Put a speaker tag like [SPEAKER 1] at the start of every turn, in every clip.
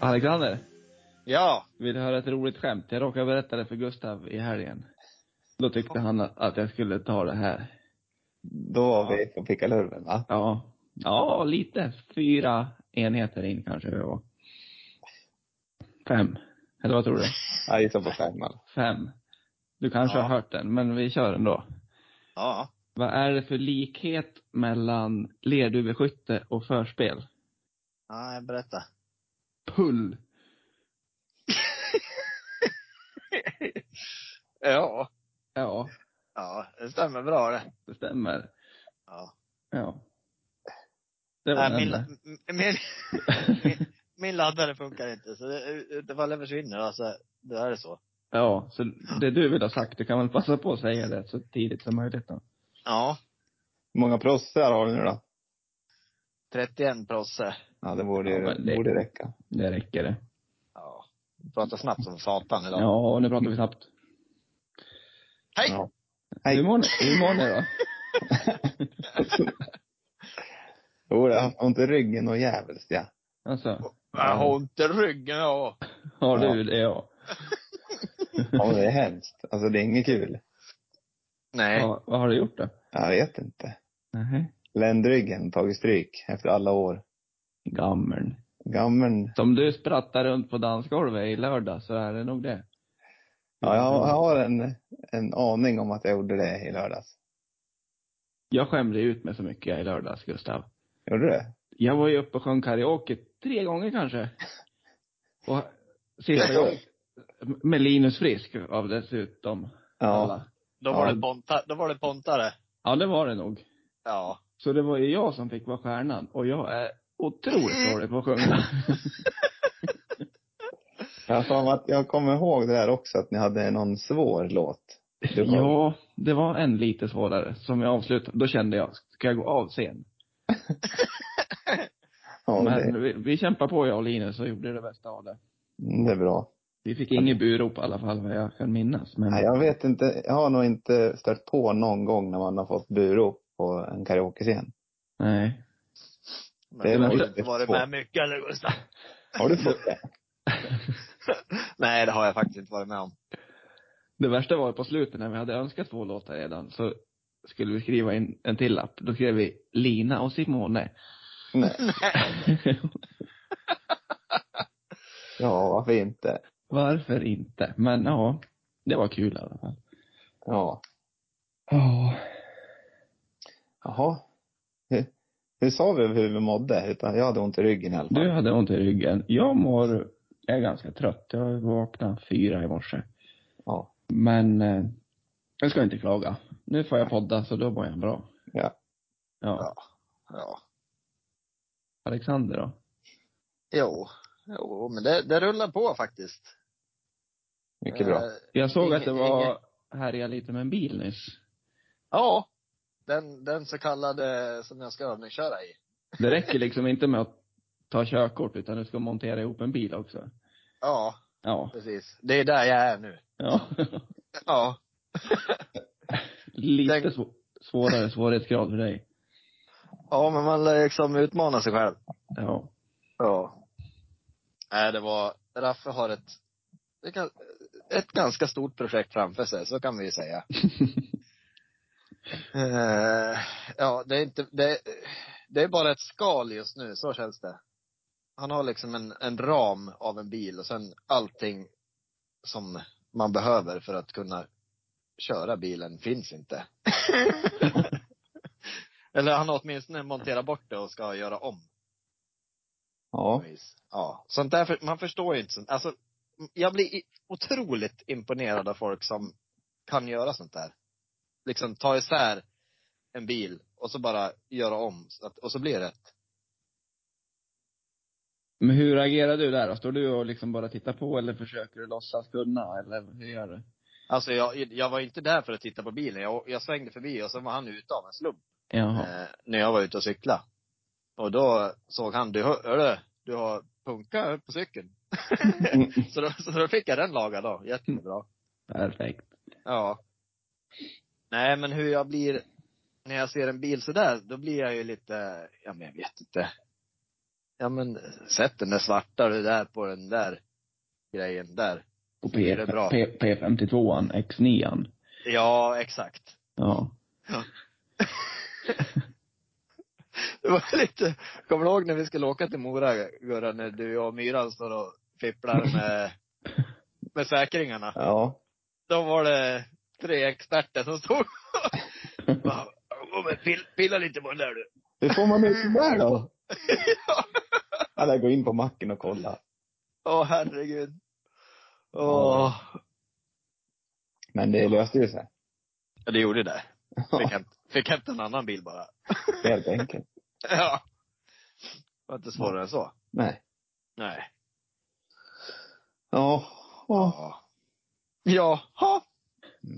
[SPEAKER 1] Alexander,
[SPEAKER 2] Ja.
[SPEAKER 1] vill du höra ett roligt skämt? Jag råkade berätta det för Gustav i helgen. Då tyckte han att jag skulle ta det här.
[SPEAKER 2] Då var vi på pickalurven va?
[SPEAKER 1] Ja. Ja, lite. Fyra enheter in kanske vi var. Fem. Eller vad tror du?
[SPEAKER 2] Jag gissar på fem eller?
[SPEAKER 1] Fem. Du kanske
[SPEAKER 2] Ja.
[SPEAKER 1] har hört den, men vi kör ändå.
[SPEAKER 2] Ja.
[SPEAKER 1] Vad är det för likhet mellan lerduveskytte och förspel?
[SPEAKER 2] Ja, berätta.
[SPEAKER 1] Pull.
[SPEAKER 2] ja.
[SPEAKER 1] Ja,
[SPEAKER 2] Ja, det stämmer bra det.
[SPEAKER 1] det stämmer.
[SPEAKER 2] Ja.
[SPEAKER 1] Ja. Det var den
[SPEAKER 2] Nej, min,
[SPEAKER 1] där.
[SPEAKER 2] m- min, min laddare funkar inte, så det, utifall den försvinner alltså, då är det så.
[SPEAKER 1] Ja, så det du vill ha sagt, du kan väl passa på att säga det så tidigt som möjligt då.
[SPEAKER 2] Ja.
[SPEAKER 3] Hur många proffsar har du nu då?
[SPEAKER 2] 31 prosse.
[SPEAKER 3] Ja, det borde,
[SPEAKER 1] Ja, men det-
[SPEAKER 3] borde räcka.
[SPEAKER 1] Det räcker det.
[SPEAKER 2] Ja. Pratar snabbt som satan idag.
[SPEAKER 1] Ja, och nu pratar vi snabbt.
[SPEAKER 2] Hej!
[SPEAKER 3] Ja. Hej.
[SPEAKER 1] Hur mår ni? Hur mår ni då?
[SPEAKER 3] Jo, jag har ont i ryggen och jävligt ja.
[SPEAKER 1] Alltså,
[SPEAKER 2] Jag har ont i ryggen ja.
[SPEAKER 1] har du det? Ja.
[SPEAKER 3] Ja, det är hemskt. Alltså det är inget kul.
[SPEAKER 2] Nej.
[SPEAKER 1] ja. Vad har du gjort då?
[SPEAKER 3] Jag vet inte.
[SPEAKER 1] Nej.
[SPEAKER 3] Ländryggen tagit stryk efter alla år.
[SPEAKER 1] Gammeln.
[SPEAKER 3] Gammeln.
[SPEAKER 1] Som du sprattar runt på dansgolvet i lördag så är det nog det.
[SPEAKER 3] Ja, jag, har- jag har en, en aning om att jag gjorde det i lördags.
[SPEAKER 1] Jag skämde ut mig så mycket i lördags, Gustav.
[SPEAKER 3] Gjorde du det?
[SPEAKER 1] Jag var ju uppe och sjöng karaoke tre gånger kanske. Och sista gången. Med Linus Frisk av dessutom.
[SPEAKER 3] Ja.
[SPEAKER 1] Alla.
[SPEAKER 2] Då var
[SPEAKER 3] Ja.
[SPEAKER 2] det ponta, då var det pontare.
[SPEAKER 1] Ja, det var det nog.
[SPEAKER 2] Ja.
[SPEAKER 1] Så det var ju jag som fick vara stjärnan och jag är otroligt dålig på att sjunga.
[SPEAKER 3] Jag, har för mig att jag kommer ihåg det där också, att ni hade någon svår låt. Det var-
[SPEAKER 1] Ja, det var en lite svårare som jag avslutade. Då kände jag, ska jag gå av scen?
[SPEAKER 3] Ja, det,
[SPEAKER 1] Men vi, vi kämpade på jag och Linus och gjorde det bästa av det.
[SPEAKER 3] det är bra.
[SPEAKER 1] Vi fick inget burop i alla fall vad jag kan minnas. Men
[SPEAKER 3] Nej, jag vet inte. Jag har nog inte stört på någon gång när man har fått burop på en karaokescen.
[SPEAKER 1] nej.
[SPEAKER 2] Men
[SPEAKER 3] Det
[SPEAKER 2] du
[SPEAKER 3] var
[SPEAKER 2] har
[SPEAKER 3] lite
[SPEAKER 2] inte varit
[SPEAKER 3] svårt.
[SPEAKER 2] med mycket eller Gustav?
[SPEAKER 3] Har du fått det?
[SPEAKER 2] Nej, det har jag faktiskt inte varit med om.
[SPEAKER 1] Det värsta var på slutet när vi hade önskat två låtar redan så skulle vi skriva in en till lapp. Då skrev vi Lina och Simone.
[SPEAKER 3] Nej. Ja, varför inte?
[SPEAKER 1] Varför inte? Men ja, det var kul i alla fall.
[SPEAKER 3] Ja.
[SPEAKER 1] Ja.
[SPEAKER 3] Jaha. Hur, hur sa vi hur vi mådde? Utan jag hade ont i ryggen i alla fall.
[SPEAKER 1] Du hade ont i ryggen. Jag mår, jag är ganska trött. Jag vaknade fyra i morse.
[SPEAKER 3] Ja.
[SPEAKER 1] Men eh, jag ska inte klaga. Nu får jag podda så då mår jag bra.
[SPEAKER 3] Ja.
[SPEAKER 1] Ja.
[SPEAKER 2] Ja.
[SPEAKER 1] Alexander då?
[SPEAKER 2] Jo. Jo, men det, det rullar på faktiskt.
[SPEAKER 3] Mycket bra.
[SPEAKER 2] Eh,
[SPEAKER 1] Jag såg att det
[SPEAKER 2] Inget-
[SPEAKER 1] var härja lite med en bil nyss.
[SPEAKER 2] ja. Den, den så kallade som jag ska övningsköra i.
[SPEAKER 1] Det räcker liksom inte med att ta körkort utan du ska montera ihop en bil också.
[SPEAKER 2] Ja,
[SPEAKER 1] Ja.
[SPEAKER 2] precis. Det är där jag är nu.
[SPEAKER 1] ja.
[SPEAKER 2] Ja.
[SPEAKER 1] Lite
[SPEAKER 2] Tänk-
[SPEAKER 1] svå- svårare svårighetsgrad för dig.
[SPEAKER 2] Ja, men man lär liksom utmana sig själv.
[SPEAKER 1] Ja.
[SPEAKER 2] Ja. Nej, det var, Raffe har ett, det kan, ett ganska stort projekt framför sig, så kan vi ju säga. Eh, ja, det är inte, det, det är bara ett skal just nu, så känns det. Han har liksom en, en ram av en bil och sen allting som man behöver för att kunna köra bilen finns inte. Eller han har åtminstone monterat bort det och ska göra om
[SPEAKER 3] Ja.
[SPEAKER 2] vis. Ja. Sånt där, för- man förstår ju inte sånt. Alltså, jag blir i- otroligt imponerad av folk som kan göra sånt där. Liksom ta isär en bil och så bara göra om, så att, och så blir det rätt.
[SPEAKER 1] Men hur agerar du där då? Står du och liksom bara tittar på eller försöker du låtsas kunna eller hur gör du?
[SPEAKER 2] Alltså jag, jag var inte där för att titta på bilen. Jag, jag svängde förbi och sen var han ute av en slump.
[SPEAKER 1] Jaha.
[SPEAKER 2] Eh, när jag var ute och cykla. Och då såg han, du hör, hörru, du har punka på cykeln. så, då, så då fick jag den lagad då. Jättebra.
[SPEAKER 1] Eh, Perfekt.
[SPEAKER 2] Ja. Nej, men hur jag blir när jag ser en bil sådär, då blir jag ju lite, ja men jag vet inte. Ja men sätt den där svarta du där på den där grejen där.
[SPEAKER 1] På
[SPEAKER 2] Det
[SPEAKER 1] P,
[SPEAKER 2] är bra.
[SPEAKER 1] P, P52an, X9an.
[SPEAKER 2] Ja, exakt.
[SPEAKER 1] Ja.
[SPEAKER 2] Det var lite, kommer du ihåg när vi skulle åka till Mora Gurra, när du och Myran står och fipplar med, med säkringarna?
[SPEAKER 3] Ja.
[SPEAKER 2] Då var det tre experter som stod och bara, "Kom och pill, pilla lite på den där du.
[SPEAKER 3] Hur får man ut den där då? Alla går in på macken och kollar.
[SPEAKER 2] Åh herregud. Åh.
[SPEAKER 3] Ja. Men det löste ju sig.
[SPEAKER 2] Ja, det gjorde det. Fick
[SPEAKER 3] Ja,
[SPEAKER 2] hämta, fick hämta en annan bil bara.
[SPEAKER 3] helt enkelt.
[SPEAKER 2] Ja. Det var inte svårare än så.
[SPEAKER 3] Nej.
[SPEAKER 2] Nej.
[SPEAKER 3] Ja. ja.
[SPEAKER 2] Ja. Jaha.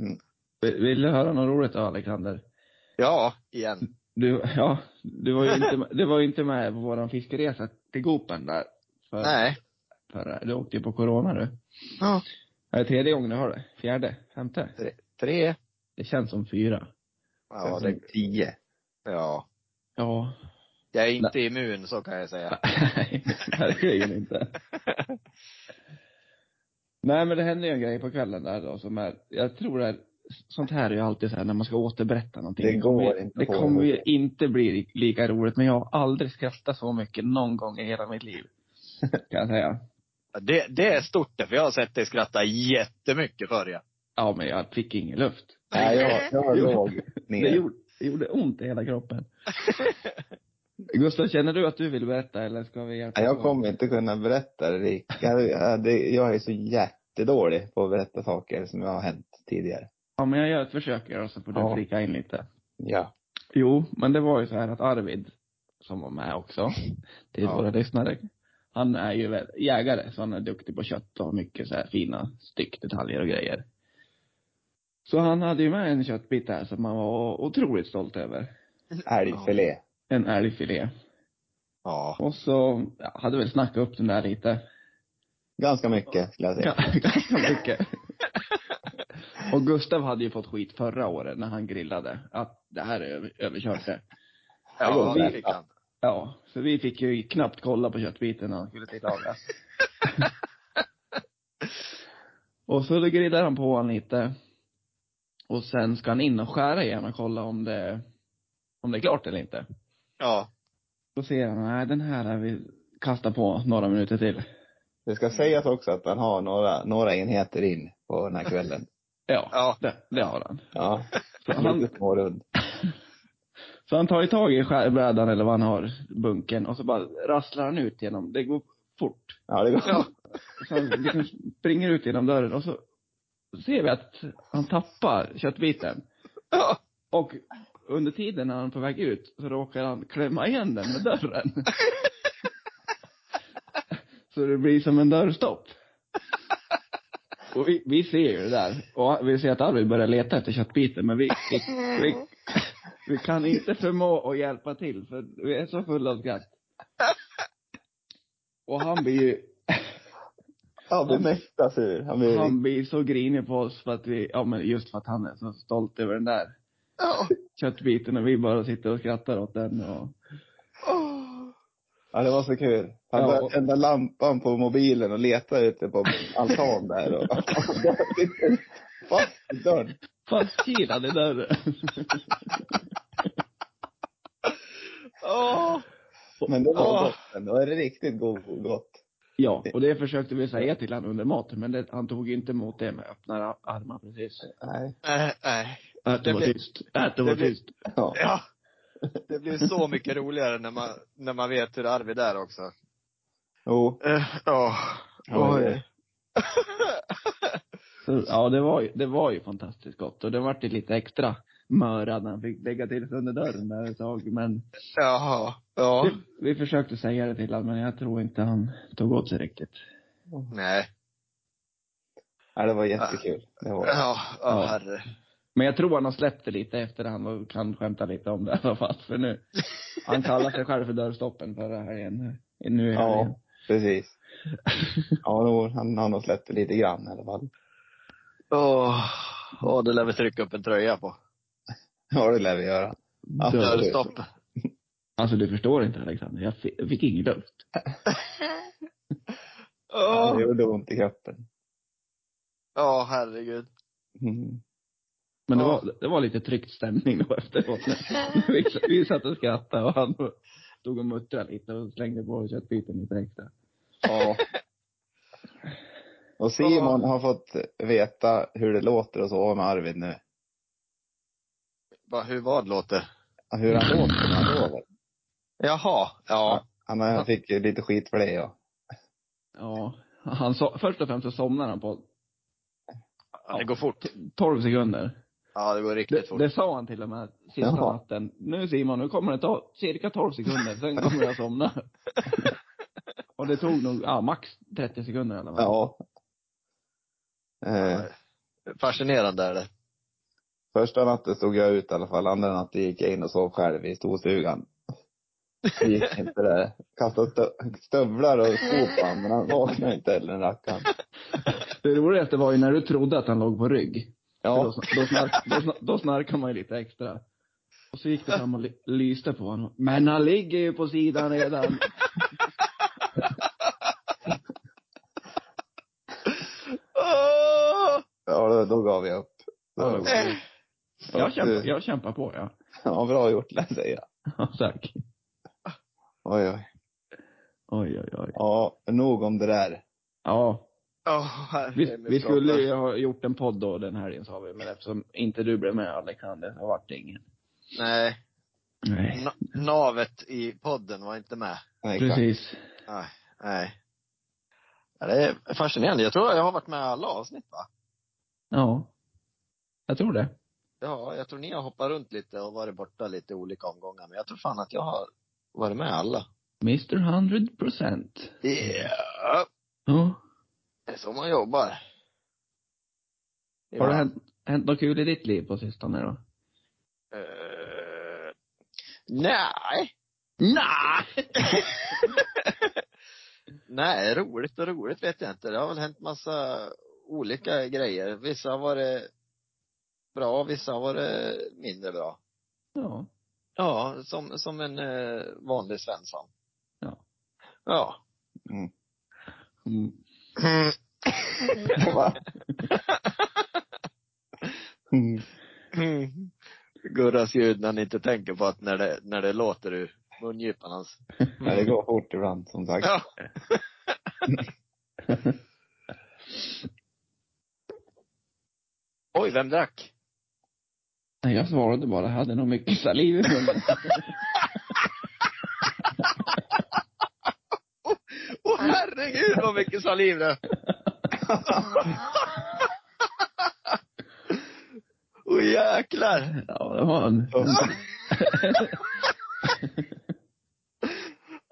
[SPEAKER 3] Mm.
[SPEAKER 1] Vill vill du höra något roligt då, Alexander?
[SPEAKER 2] Ja, igen.
[SPEAKER 1] Du, ja, du var ju inte, med- du var ju inte med på våran fiskeresa till Gopen där. För,
[SPEAKER 2] Nej.
[SPEAKER 1] För, du åkte ju på corona du.
[SPEAKER 2] Ja.
[SPEAKER 1] Det är tredje gången du har det. Fjärde, femte.
[SPEAKER 2] Tre.
[SPEAKER 1] Det känns som fyra.
[SPEAKER 2] Ja,
[SPEAKER 3] Sen
[SPEAKER 2] det,
[SPEAKER 3] tio.
[SPEAKER 2] ja.
[SPEAKER 1] Ja.
[SPEAKER 2] Jag är inte immun, så kan jag säga.
[SPEAKER 1] Nej, verkligen inte. Nej men det händer ju en grej på kvällen där då som är, jag tror det är, sånt här är ju alltid så här när man ska återberätta någonting.
[SPEAKER 3] Det går inte
[SPEAKER 1] Det
[SPEAKER 3] på
[SPEAKER 1] kommer ju
[SPEAKER 3] ihop.
[SPEAKER 1] inte bli lika roligt men jag har aldrig skrattat så mycket någon gång i hela mitt liv. Kan jag säga.
[SPEAKER 2] Det, det är stort det, för jag har sett dig skratta jättemycket för jag.
[SPEAKER 1] Ja men jag fick ingen luft.
[SPEAKER 3] Nej, jag, jag
[SPEAKER 1] Jo.
[SPEAKER 3] låg
[SPEAKER 1] Det
[SPEAKER 3] ner.
[SPEAKER 1] gjorde, det gjorde ont i hela kroppen. Gustav, känner du att du vill berätta eller ska vi hjälpa
[SPEAKER 3] Nej, jag
[SPEAKER 1] åt?
[SPEAKER 3] kommer inte kunna berätta det. Rick. Jag, jag- det- jag är så jättedålig på att berätta saker som har hänt tidigare.
[SPEAKER 1] Ja men jag gör ett försök här och så får du
[SPEAKER 3] Ja.
[SPEAKER 1] flika in lite.
[SPEAKER 3] Ja.
[SPEAKER 1] Jo, men det var ju så här att Arvid, som var med också, till
[SPEAKER 3] Ja.
[SPEAKER 1] våra lyssnare, han är ju väl jägare, så han är duktig på kött och mycket så här fina styckdetaljer och grejer. Så han hade ju med en köttbit där som han var otroligt stolt över.
[SPEAKER 3] Älgfilé.
[SPEAKER 1] En älgfilé.
[SPEAKER 2] Ja.
[SPEAKER 1] Och så ja, hade väl snackat upp den där lite.
[SPEAKER 3] Ganska mycket skulle jag säga.
[SPEAKER 1] Ganska mycket. Och Gustav hade ju fått skit förra året när han grillade, att det här är över- överkört det.
[SPEAKER 2] Ja, det fick han.
[SPEAKER 1] Ja, så vi fick ju knappt kolla på köttbiten när han skulle tillaga. och så då grillar han på han lite. Och sen ska han in och skära igen och kolla om det, om det är klart eller inte.
[SPEAKER 2] Ja.
[SPEAKER 1] Då ser han, nej den här har vi kastat på några minuter till.
[SPEAKER 3] Det ska sägas också att han har några, några enheter in på den här kvällen.
[SPEAKER 1] Ja,
[SPEAKER 2] Ja.
[SPEAKER 1] Det, det har han.
[SPEAKER 3] Ja.
[SPEAKER 1] Så han,
[SPEAKER 3] Lite smårund.
[SPEAKER 1] så han tar ju tag i skärbrädan eller vad han har, bunken, och så bara rasslar han ut genom, det går fort.
[SPEAKER 3] Ja, det går.
[SPEAKER 2] Ja.
[SPEAKER 1] Så han liksom springer ut genom dörren och så ser vi att han tappar köttbiten.
[SPEAKER 2] Ja.
[SPEAKER 1] Och under tiden när han är på väg ut så råkar han klämma igen den med dörren. Så det blir som en dörrstopp. Och vi, vi ser ju det där. Och vi ser att Arvid börjar leta efter köttbiten men vi, vi, vi,
[SPEAKER 2] Mm.
[SPEAKER 1] vi kan inte förmå att hjälpa till för vi är så fulla av skratt. Och han blir ju
[SPEAKER 3] Han blir mäkta sur. Han blir,
[SPEAKER 1] Han blir så grinig på oss för att vi, ja men just för att han är så stolt över den där
[SPEAKER 2] Ja.
[SPEAKER 1] köttbiten och vi bara sitter och skrattar åt den och,
[SPEAKER 2] Åh.
[SPEAKER 3] ja, det var så kul. Han
[SPEAKER 1] Ja,
[SPEAKER 3] började
[SPEAKER 1] och-
[SPEAKER 3] tända lampan på mobilen och leta ute på altan där. Och, fast i dörren.
[SPEAKER 1] fastkilad i dörren.
[SPEAKER 2] Åh.
[SPEAKER 3] Men det var
[SPEAKER 2] Åh.
[SPEAKER 3] gott. Då är det riktigt god, gott.
[SPEAKER 1] Ja, och det försökte vi säga till honom under maten men det, han tog ju inte emot det med öppna armar precis.
[SPEAKER 3] Nej.
[SPEAKER 2] Nej, nej.
[SPEAKER 1] Ät och var
[SPEAKER 2] blir-
[SPEAKER 1] tyst, ät och var
[SPEAKER 2] det blir-
[SPEAKER 1] tyst.
[SPEAKER 3] Ja.
[SPEAKER 2] Ja. Det blir så mycket roligare när man, när man vet hur Arvid är också.
[SPEAKER 3] Jo.
[SPEAKER 2] Eh, Ja.
[SPEAKER 3] Ja, det-
[SPEAKER 2] Oj.
[SPEAKER 1] Så, ja, det var, ju, det var ju fantastiskt gott och det vart ju lite extra möra när han fick lägga till sig under dörren där ett tag men
[SPEAKER 2] Jaha. Ja.
[SPEAKER 1] vi försökte säga det till honom men jag tror inte han tog åt sig riktigt.
[SPEAKER 2] Nej.
[SPEAKER 3] Ja, det var jättekul. Det var det.
[SPEAKER 2] Ja. Ja,
[SPEAKER 1] Ja.
[SPEAKER 2] herre.
[SPEAKER 1] Men jag tror han har släppt det lite efter han var- kan skämta lite om det i alla fall. För nu, han kallar sig själv för dörrstoppen förra helgen. Nu i
[SPEAKER 3] Ja.
[SPEAKER 1] helgen.
[SPEAKER 3] Precis. Ja, då, han har nog släppt det lite grann i alla fall.
[SPEAKER 2] Åh. Åh, det lär vi trycka upp en tröja på.
[SPEAKER 3] Ja, det lär vi göra. Ja,
[SPEAKER 1] Dörr-
[SPEAKER 2] Dörrstopp.
[SPEAKER 1] Alltså du förstår inte Alexander, jag fi- jag fick ingen luft.
[SPEAKER 3] Ja,
[SPEAKER 2] Ja,
[SPEAKER 3] Det gjorde ont i kroppen.
[SPEAKER 2] Ja, herregud.
[SPEAKER 3] Mm.
[SPEAKER 1] Men det,
[SPEAKER 2] Ja.
[SPEAKER 1] var, det var lite tryckt stämning då efteråt. vi, vi satt och skrattade och han stod och muttrade lite och slängde på köttbiten lite extra.
[SPEAKER 3] Ja. Och Simon har fått veta hur det låter och så med Arvid nu.
[SPEAKER 2] Bara hur vad låter?
[SPEAKER 3] Hur han låter när han lovar.
[SPEAKER 2] Jaha. Ja.
[SPEAKER 3] Han, han fick ju lite skit för det ja.
[SPEAKER 1] Ja, han so- först och främst så somnar han på
[SPEAKER 2] ja. Det går fort.
[SPEAKER 1] 12 sekunder.
[SPEAKER 2] Ja, det går riktigt
[SPEAKER 1] Det,
[SPEAKER 2] fort.
[SPEAKER 1] det sa han till och med sista
[SPEAKER 3] Jaha.
[SPEAKER 1] natten. Nu Simon, nu kommer det ta cirka 12 sekunder, sen kommer jag somna. och det tog nog, ja, max 30 sekunder i alla fall.
[SPEAKER 3] Ja. Eh,
[SPEAKER 2] Fascinerande är det.
[SPEAKER 3] första natten stod jag ut i alla fall. Andra natten gick jag in och sov själv i storstugan. Det gick inte det. Kastade stö- stövlar och skor på honom, men han vaknade inte heller den rackaren.
[SPEAKER 1] Det roligaste var ju när du trodde att han låg på rygg. För Då,
[SPEAKER 3] Ja.
[SPEAKER 1] sn- då, snark, då, sn- då snarkar man ju lite extra. Och så gick du fram och ly- lyste på honom. Men han ligger ju på sidan redan.
[SPEAKER 2] Åh!
[SPEAKER 3] Ja, då, då gav jag upp.
[SPEAKER 1] Ja,
[SPEAKER 3] Då,
[SPEAKER 1] då- Jag kämpar, jag kämpar på, ja.
[SPEAKER 3] ja, bra gjort, lär jag säga.
[SPEAKER 1] ja tack.
[SPEAKER 3] Oj, oj.
[SPEAKER 1] Oj, oj, oj.
[SPEAKER 3] Ja, nog om det där.
[SPEAKER 1] Ja,
[SPEAKER 2] Ja, herre
[SPEAKER 1] Vi,
[SPEAKER 2] min
[SPEAKER 1] vi
[SPEAKER 2] skapare.
[SPEAKER 1] skulle ju ha gjort en podd då den här sa vi, men eftersom inte du blev med Alexander så vart det ingen.
[SPEAKER 2] Nej,
[SPEAKER 1] Nej.
[SPEAKER 2] na- navet i podden var inte med.
[SPEAKER 3] Nej, exakt.
[SPEAKER 1] Precis.
[SPEAKER 2] Nej. Ja, det är fascinerande. Jag tror jag har varit med i alla avsnitt va?
[SPEAKER 1] Ja. Jag tror det.
[SPEAKER 2] Ja, jag tror ni har hoppat runt lite och varit borta lite i olika omgångar. Men jag tror fan att jag har varit med i alla.
[SPEAKER 1] Mr 100%.
[SPEAKER 2] Yeah.
[SPEAKER 1] Ja.
[SPEAKER 2] Det är så man jobbar.
[SPEAKER 1] Har det hänt, hänt något kul i ditt liv på sistone då?
[SPEAKER 2] Eh, nej.
[SPEAKER 1] Nej!
[SPEAKER 2] Nej, roligt och roligt vet jag inte. Det har väl hänt massa olika grejer. Vissa har varit bra, vissa har varit mindre bra.
[SPEAKER 1] Ja.
[SPEAKER 2] Ja, som, som en eh, vanlig svensson.
[SPEAKER 1] Ja.
[SPEAKER 2] Ja.
[SPEAKER 1] Mm.
[SPEAKER 3] Va? Mm.
[SPEAKER 2] Gurras ljud när han inte tänker på att när det, när det låter ur mungipan hans.
[SPEAKER 3] Ja, det går fort ibland, som sagt.
[SPEAKER 2] Ja. Oj, vem drack?
[SPEAKER 1] Nej, jag svarade bara. Jag hade nog mycket saliv i munnen.
[SPEAKER 2] Åh herregud vad mycket saliv det Åh jäklar.
[SPEAKER 1] ja, det var en.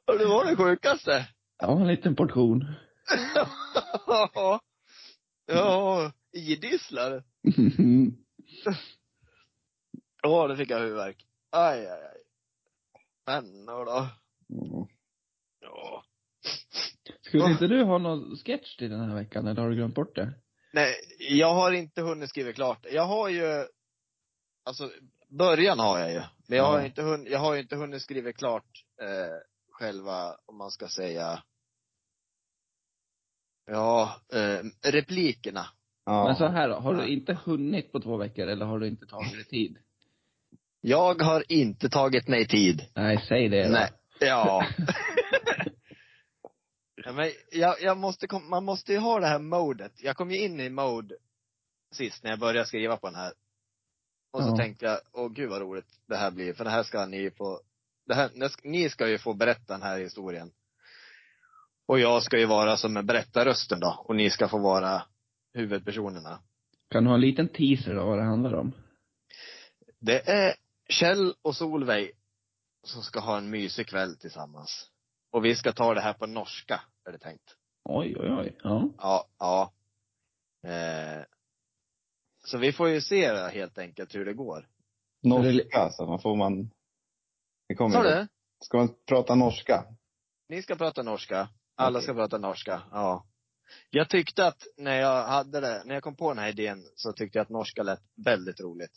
[SPEAKER 2] Ja, Det var det sjukaste.
[SPEAKER 1] Ja, en liten portion.
[SPEAKER 2] Ja. Ja, idisslar. Ja, det fick jag huvudvärk. Aj, aj, aj. Men då.
[SPEAKER 3] Mm.
[SPEAKER 2] Ja.
[SPEAKER 1] Skulle inte du ha någon sketch till den här veckan eller har du glömt bort det?
[SPEAKER 2] Nej, jag har inte hunnit skriva klart. Jag har ju, alltså början har jag ju. Men jag har
[SPEAKER 1] Ja.
[SPEAKER 2] ju inte hunnit, jag har ju inte hunnit skriva klart eh, själva, om man ska säga, ja, eh, replikerna.
[SPEAKER 1] Men så
[SPEAKER 3] Ja.
[SPEAKER 1] här då, har du inte hunnit på två veckor eller har du inte tagit dig tid?
[SPEAKER 2] Jag har inte tagit mig tid.
[SPEAKER 1] Nej, säg det då.
[SPEAKER 2] Nej. Ja. ja men jag, jag måste kom, man måste ju ha det här modet. Jag kom ju in i mode sist när jag började skriva på den här. Och så
[SPEAKER 1] Ja.
[SPEAKER 2] tänkte jag, åh gud vad roligt det här blir, för det här ska ni få, det här, ni ska- ni ska ju få berätta den här historien. Och jag ska ju vara som en berättarrösten då, och ni ska få vara huvudpersonerna.
[SPEAKER 1] Kan du ha en liten teaser då vad det handlar om?
[SPEAKER 2] Det är Kjell och Solveig som ska ha en mysig kväll tillsammans. Och vi ska ta det här på norska, är det tänkt.
[SPEAKER 1] Oj, oj, oj. Ja.
[SPEAKER 2] Ja, ja. Eh, så vi får ju se då, helt enkelt hur det går.
[SPEAKER 3] Norska, alltså. Man får man... Det
[SPEAKER 2] Sa
[SPEAKER 3] kommer
[SPEAKER 2] du?
[SPEAKER 3] Ska man prata norska?
[SPEAKER 2] Ni ska prata norska. Alla ska prata norska. Ja. Jag tyckte att när jag hade det, när jag kom på den här idén så tyckte jag att norska lät väldigt roligt.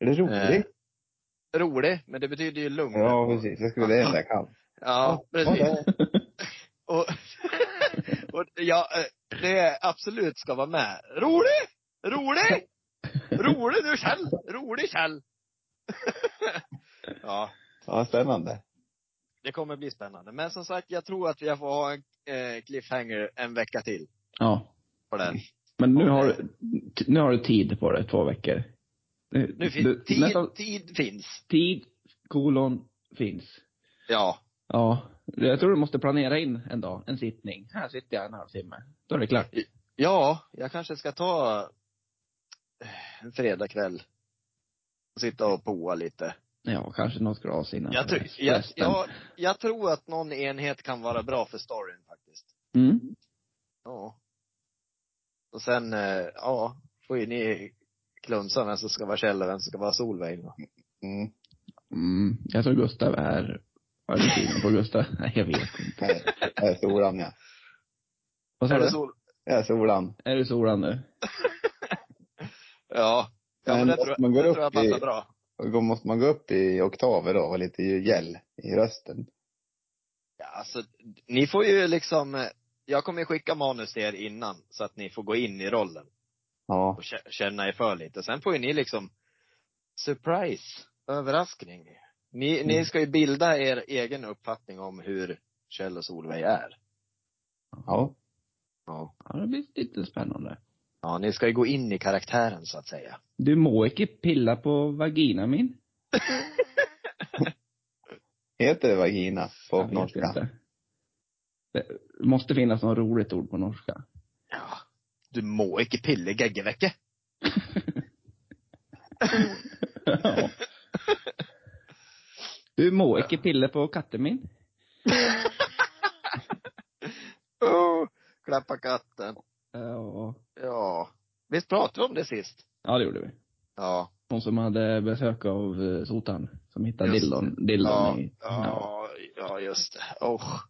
[SPEAKER 3] Är det roligt?
[SPEAKER 2] Eh, rolig, men det betyder ju lugn.
[SPEAKER 3] Ja, precis. Jag skulle det enda jag kan.
[SPEAKER 2] Ja, precis. Och, och ja, eh, det absolut ska vara med. Rolig! Rolig! Rolig nu Kjell! Rolig Kjell! ja,
[SPEAKER 3] Ja, spännande.
[SPEAKER 2] det kommer bli spännande. Men som sagt, jag tror att jag får ha en eh, cliffhanger en vecka till
[SPEAKER 1] Ja.
[SPEAKER 2] på den.
[SPEAKER 1] Men nu har, du- t- nu har du tid på dig, två veckor.
[SPEAKER 2] Nu
[SPEAKER 1] Du-
[SPEAKER 2] finns, tid,
[SPEAKER 1] nästa-
[SPEAKER 2] tid finns.
[SPEAKER 1] Tid, kolon, finns.
[SPEAKER 2] Ja.
[SPEAKER 1] Ja. Jag tror du måste planera in en dag, en sittning. Här sitter jag en halvtimme. Då är det klart.
[SPEAKER 2] Ja, jag kanske ska ta eh, en fredagkväll och sitta och poa lite.
[SPEAKER 1] Ja, kanske något glas innan.
[SPEAKER 2] Jag, tror- jag, jag, jag tror att någon enhet kan vara bra för storyn faktiskt.
[SPEAKER 1] Mm.
[SPEAKER 2] Ja. Och sen, eh, ja, får ju ni klunsa vem som ska vara Kjell och vem som ska vara Solveig. då.
[SPEAKER 3] Mm.
[SPEAKER 1] Mm. Jag tror Gustav är, vad är det synen på Gustav? Nej, jag vet inte.
[SPEAKER 3] Nej, jag är Soran, ja.
[SPEAKER 1] Vad sa
[SPEAKER 2] Är det
[SPEAKER 1] du?
[SPEAKER 2] sol?
[SPEAKER 3] Jag är Soran.
[SPEAKER 1] Är det Soran nu?
[SPEAKER 2] Ja. Ja, men
[SPEAKER 3] Men
[SPEAKER 2] det tror
[SPEAKER 3] man
[SPEAKER 2] jag,
[SPEAKER 3] går
[SPEAKER 2] det tror jag
[SPEAKER 3] upp i-
[SPEAKER 2] passar bra.
[SPEAKER 3] Då måste man gå upp i oktaver då och lite gäll i rösten.
[SPEAKER 2] Ja, alltså, ni får ju liksom, eh, jag kommer ju skicka manus till er innan så att ni får gå in i rollen.
[SPEAKER 3] Ja.
[SPEAKER 2] och kä- känna er för lite. Sen får ju ni liksom surprise, överraskning. Ni, ni ska ju bilda er egen uppfattning om hur Kjell och Solveig är.
[SPEAKER 3] Ja.
[SPEAKER 2] Ja.
[SPEAKER 1] Ja, det blir lite spännande.
[SPEAKER 2] Ja, ni ska ju gå in i karaktären så att säga.
[SPEAKER 1] Du må inte pilla på vagina min.
[SPEAKER 3] Heter det vagina på
[SPEAKER 1] Jag vet
[SPEAKER 3] norska?
[SPEAKER 1] inte. Det måste finnas något roligt ord på norska.
[SPEAKER 2] Ja. Du må inte pille geggevekke.
[SPEAKER 1] Ja. Du må inte pilla på katten min.
[SPEAKER 2] Oh, klappa katten.
[SPEAKER 1] Ja,
[SPEAKER 2] Ja. Visst pratade vi om det sist?
[SPEAKER 1] Ja, det gjorde vi.
[SPEAKER 2] Ja.
[SPEAKER 1] Hon som hade besök av eh, Sotan, som hittade
[SPEAKER 2] Just
[SPEAKER 1] dillon, dillon
[SPEAKER 2] Ja,
[SPEAKER 1] i,
[SPEAKER 2] ja, ja just det. Oh.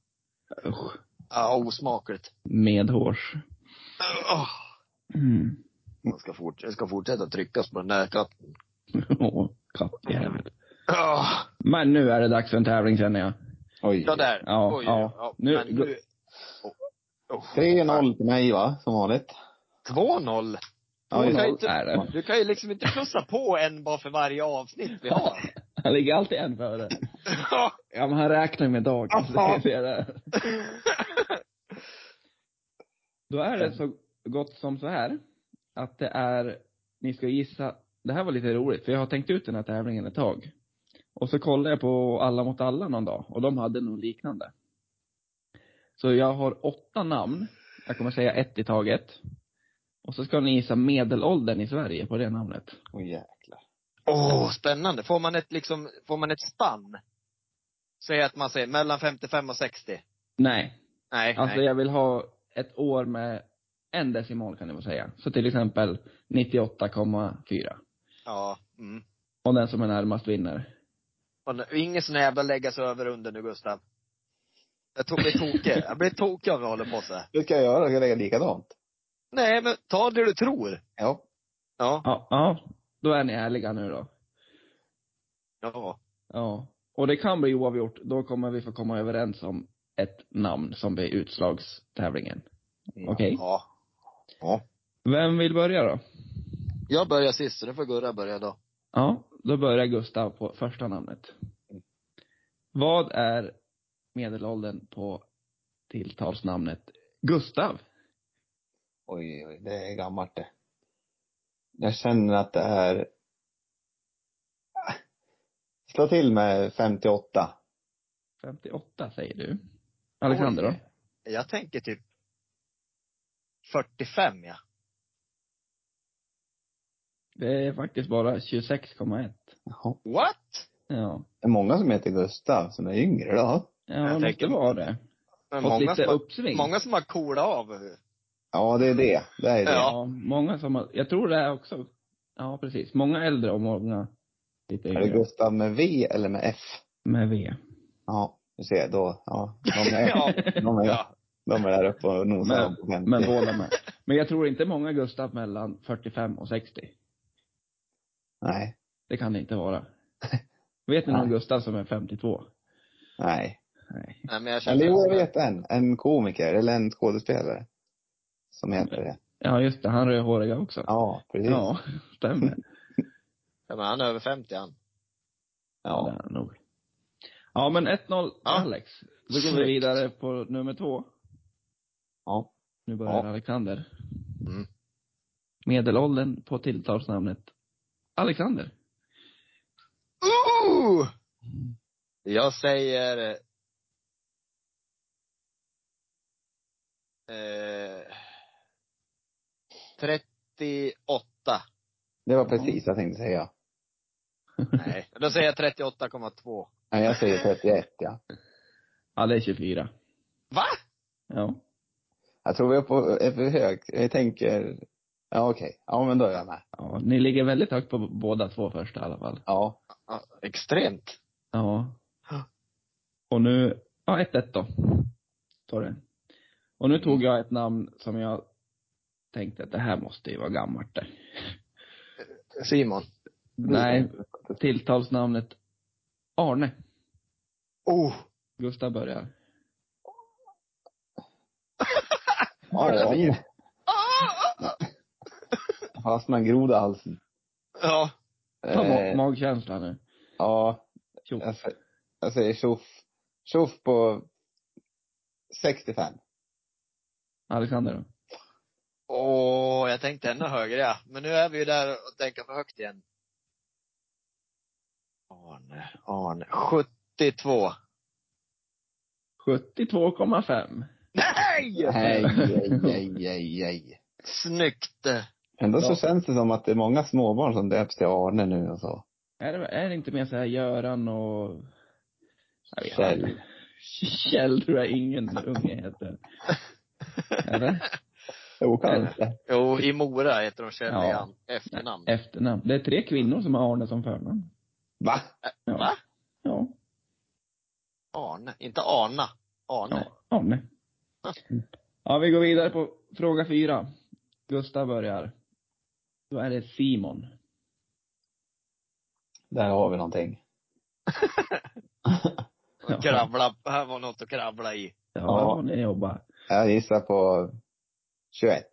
[SPEAKER 1] usch,
[SPEAKER 2] Ja, osmakligt.
[SPEAKER 1] medhårs.
[SPEAKER 2] Oh.
[SPEAKER 1] Mm.
[SPEAKER 2] Jag ska, fort, jag ska fortsätta tryckas på den där katten.
[SPEAKER 1] Åh, kattjävel.
[SPEAKER 2] Oh.
[SPEAKER 1] Men nu är det dags för en tävling känner jag.
[SPEAKER 3] Oj.
[SPEAKER 2] Ja, där.
[SPEAKER 1] Ja,
[SPEAKER 2] Oj,
[SPEAKER 1] ja. Nu-
[SPEAKER 2] men nu... Oh. Oh.
[SPEAKER 3] 3-0 till mig va, som vanligt.
[SPEAKER 2] 2-0.
[SPEAKER 3] Ja,
[SPEAKER 2] Åh,
[SPEAKER 3] just
[SPEAKER 2] nej.
[SPEAKER 3] det.
[SPEAKER 2] inte-
[SPEAKER 1] är det.
[SPEAKER 2] Du kan ju liksom inte plussa på en bara för varje avsnitt vi har.
[SPEAKER 1] Han ligger alltid en före.
[SPEAKER 2] Ja.
[SPEAKER 1] Ja men han räknar ju med dagen. så
[SPEAKER 2] Aha.
[SPEAKER 1] det är det. Då är det så gott som så här. Att det är, ni ska gissa, det här var lite roligt för jag har tänkt ut den här tävlingen ett tag. Och så kollade jag på Alla mot alla någon dag och de hade något liknande. Så jag har åtta namn. Jag kommer säga ett i taget. Och så ska ni gissa medelåldern i Sverige på det namnet.
[SPEAKER 3] Åh jäklar.
[SPEAKER 2] Åh, spännande. Får man ett liksom, får man ett spann? Säg att man säger mellan 55 och 60.
[SPEAKER 1] Nej,
[SPEAKER 2] Nej,
[SPEAKER 1] Alltså
[SPEAKER 2] nej.
[SPEAKER 1] jag vill ha ett år med en decimal kan du väl säga. Så till exempel 98,4.
[SPEAKER 2] Ja. Mm.
[SPEAKER 1] Och den som är närmast vinner.
[SPEAKER 2] Och nu- ingen sån här jävla lägga sig över under nu Gustav. Jag tog mig tokig. Jag blir tokig om vi håller på så här.
[SPEAKER 3] Det ska jag göra, jag ska lägga likadant.
[SPEAKER 2] Nej, men ta det du tror.
[SPEAKER 3] Ja.
[SPEAKER 2] Ja.
[SPEAKER 1] Ja, ja, då är ni ärliga nu då.
[SPEAKER 2] Ja.
[SPEAKER 1] Ja. Och det kan bli oavgjort. Då kommer vi få komma överens om ett namn som blir utslagstävlingen. Okej.
[SPEAKER 2] Ja.
[SPEAKER 1] Vem vill börja då?
[SPEAKER 2] Jag börjar sist, så nu får Gurra börja då.
[SPEAKER 1] Ja, då börjar Gustav på första namnet. Vad är medelåldern på tilltalsnamnet Gustav?
[SPEAKER 3] Oj, oj, det är gammalt det. Jag känner att det är... Slå till med 58.
[SPEAKER 1] 58 säger du. Alexander då?
[SPEAKER 2] Oj. Jag tänker typ 45 ja.
[SPEAKER 1] Det är faktiskt bara 26,1.
[SPEAKER 3] Jaha.
[SPEAKER 2] What?
[SPEAKER 1] Ja.
[SPEAKER 3] Det är många som heter Gustav som är yngre då.
[SPEAKER 1] Ja, det måste
[SPEAKER 2] tänker-
[SPEAKER 1] vara det.
[SPEAKER 2] Men
[SPEAKER 1] Fått
[SPEAKER 2] många,
[SPEAKER 1] lite
[SPEAKER 2] som har,
[SPEAKER 1] uppsving.
[SPEAKER 2] många som har coola av.
[SPEAKER 3] Ja, det är det. Det är det.
[SPEAKER 2] Ja.
[SPEAKER 1] ja, många som har, jag tror det är också, ja precis. Många äldre och många lite
[SPEAKER 3] Är det
[SPEAKER 1] yngre.
[SPEAKER 3] Gustav med V eller med F?
[SPEAKER 1] Med V.
[SPEAKER 3] Ja, du ser, då, ja. De är,
[SPEAKER 2] Ja.
[SPEAKER 3] de är,
[SPEAKER 2] ja.
[SPEAKER 3] de är där uppe och nosar på 50.
[SPEAKER 1] Men båda med. Men jag tror inte många Gustav mellan 45 och 60.
[SPEAKER 3] Nej.
[SPEAKER 1] Det kan det inte vara. Vet ni någon
[SPEAKER 3] Nej.
[SPEAKER 1] Gustav som är 52?
[SPEAKER 3] Nej.
[SPEAKER 1] Nej.
[SPEAKER 2] Nej, men jag känner...
[SPEAKER 3] Eller jo, jag vet en. En komiker, eller en skådespelare. Som heter det.
[SPEAKER 1] Ja, just det. Han rödhåriga också.
[SPEAKER 3] Ja, precis. Ja.
[SPEAKER 1] Ja, stämmer.
[SPEAKER 2] Ja, men han är över 50 han.
[SPEAKER 1] Ja, det är han nog. Ja, men 1-0
[SPEAKER 2] Ja.
[SPEAKER 1] Alex. Då går vi
[SPEAKER 2] Snyggt.
[SPEAKER 1] vidare på nummer två.
[SPEAKER 3] Ja.
[SPEAKER 1] Nu börjar
[SPEAKER 3] Ja.
[SPEAKER 1] Alexander.
[SPEAKER 2] Mm.
[SPEAKER 1] Medelåldern på tilltalsnamnet Alexander.
[SPEAKER 2] Ooh! Jag säger... Eh, 38.
[SPEAKER 3] Det var precis vad jag tänkte säga.
[SPEAKER 2] Nej, då säger jag 38,2.
[SPEAKER 3] Nej, jag säger 31 ja.
[SPEAKER 1] Ja, det är 24.
[SPEAKER 2] Va?
[SPEAKER 1] Ja.
[SPEAKER 3] Jag tror vi är, på, är för högt. Jag tänker, ja okej. Ja men då är jag med.
[SPEAKER 1] ja. Ni ligger väldigt högt på båda två första i alla fall.
[SPEAKER 3] Ja.
[SPEAKER 2] Ja, extremt.
[SPEAKER 1] Ja.
[SPEAKER 2] Ja.
[SPEAKER 1] Och nu, ja 1-1 då. Tar det. Och nu tog jag ett namn som jag tänkte att det här måste ju vara gammalt det.
[SPEAKER 2] Simon.
[SPEAKER 3] Mm.
[SPEAKER 1] Nej, tilltalsnamnet Arne.
[SPEAKER 2] Oh!
[SPEAKER 1] Gustav börjar.
[SPEAKER 3] Ja, ja. Fastnar en groda i halsen.
[SPEAKER 2] Ja.
[SPEAKER 1] Ta ma-
[SPEAKER 3] Eh,
[SPEAKER 1] magkänsla nu.
[SPEAKER 3] Ja,
[SPEAKER 1] Tjo.
[SPEAKER 3] jag, sä- jag säger tjoff. Tjoff på 65.
[SPEAKER 1] Alexander då?
[SPEAKER 2] Åh, jag tänkte ännu högre ja. Men nu är vi ju där och tänker för högt igen. Arne, Arne. 72.
[SPEAKER 1] 72,5.
[SPEAKER 2] Nej!
[SPEAKER 3] Nej, nej, nej, nej, nej.
[SPEAKER 2] Snyggt!
[SPEAKER 3] Ändå så
[SPEAKER 1] Ja.
[SPEAKER 3] känns det som att det är många småbarn som döps till Arne nu och så.
[SPEAKER 1] Är det, är det inte mer så här Göran och... Jag vet
[SPEAKER 3] Kjell.
[SPEAKER 1] inte. Kjell tror jag ingen unge heter. Eller?
[SPEAKER 3] Jo, kanske.
[SPEAKER 2] Jo, i Mora heter de Kjell
[SPEAKER 1] Ja.
[SPEAKER 2] i an- efternamn.
[SPEAKER 1] Efternamn. Det är tre kvinnor som har Arne som förnamn.
[SPEAKER 3] Va?
[SPEAKER 1] Ja.
[SPEAKER 2] Va?
[SPEAKER 1] Ja.
[SPEAKER 2] Arne, inte Arna. Arne.
[SPEAKER 1] Ja, Arne. Ja, vi går vidare på fråga fyra. Gustav börjar. Då är det Simon.
[SPEAKER 3] Där har vi någonting.
[SPEAKER 1] Ja.
[SPEAKER 2] Kravla, här var något att kravla i.
[SPEAKER 1] Ja, ni jobbar.
[SPEAKER 3] Jag gissar på 21.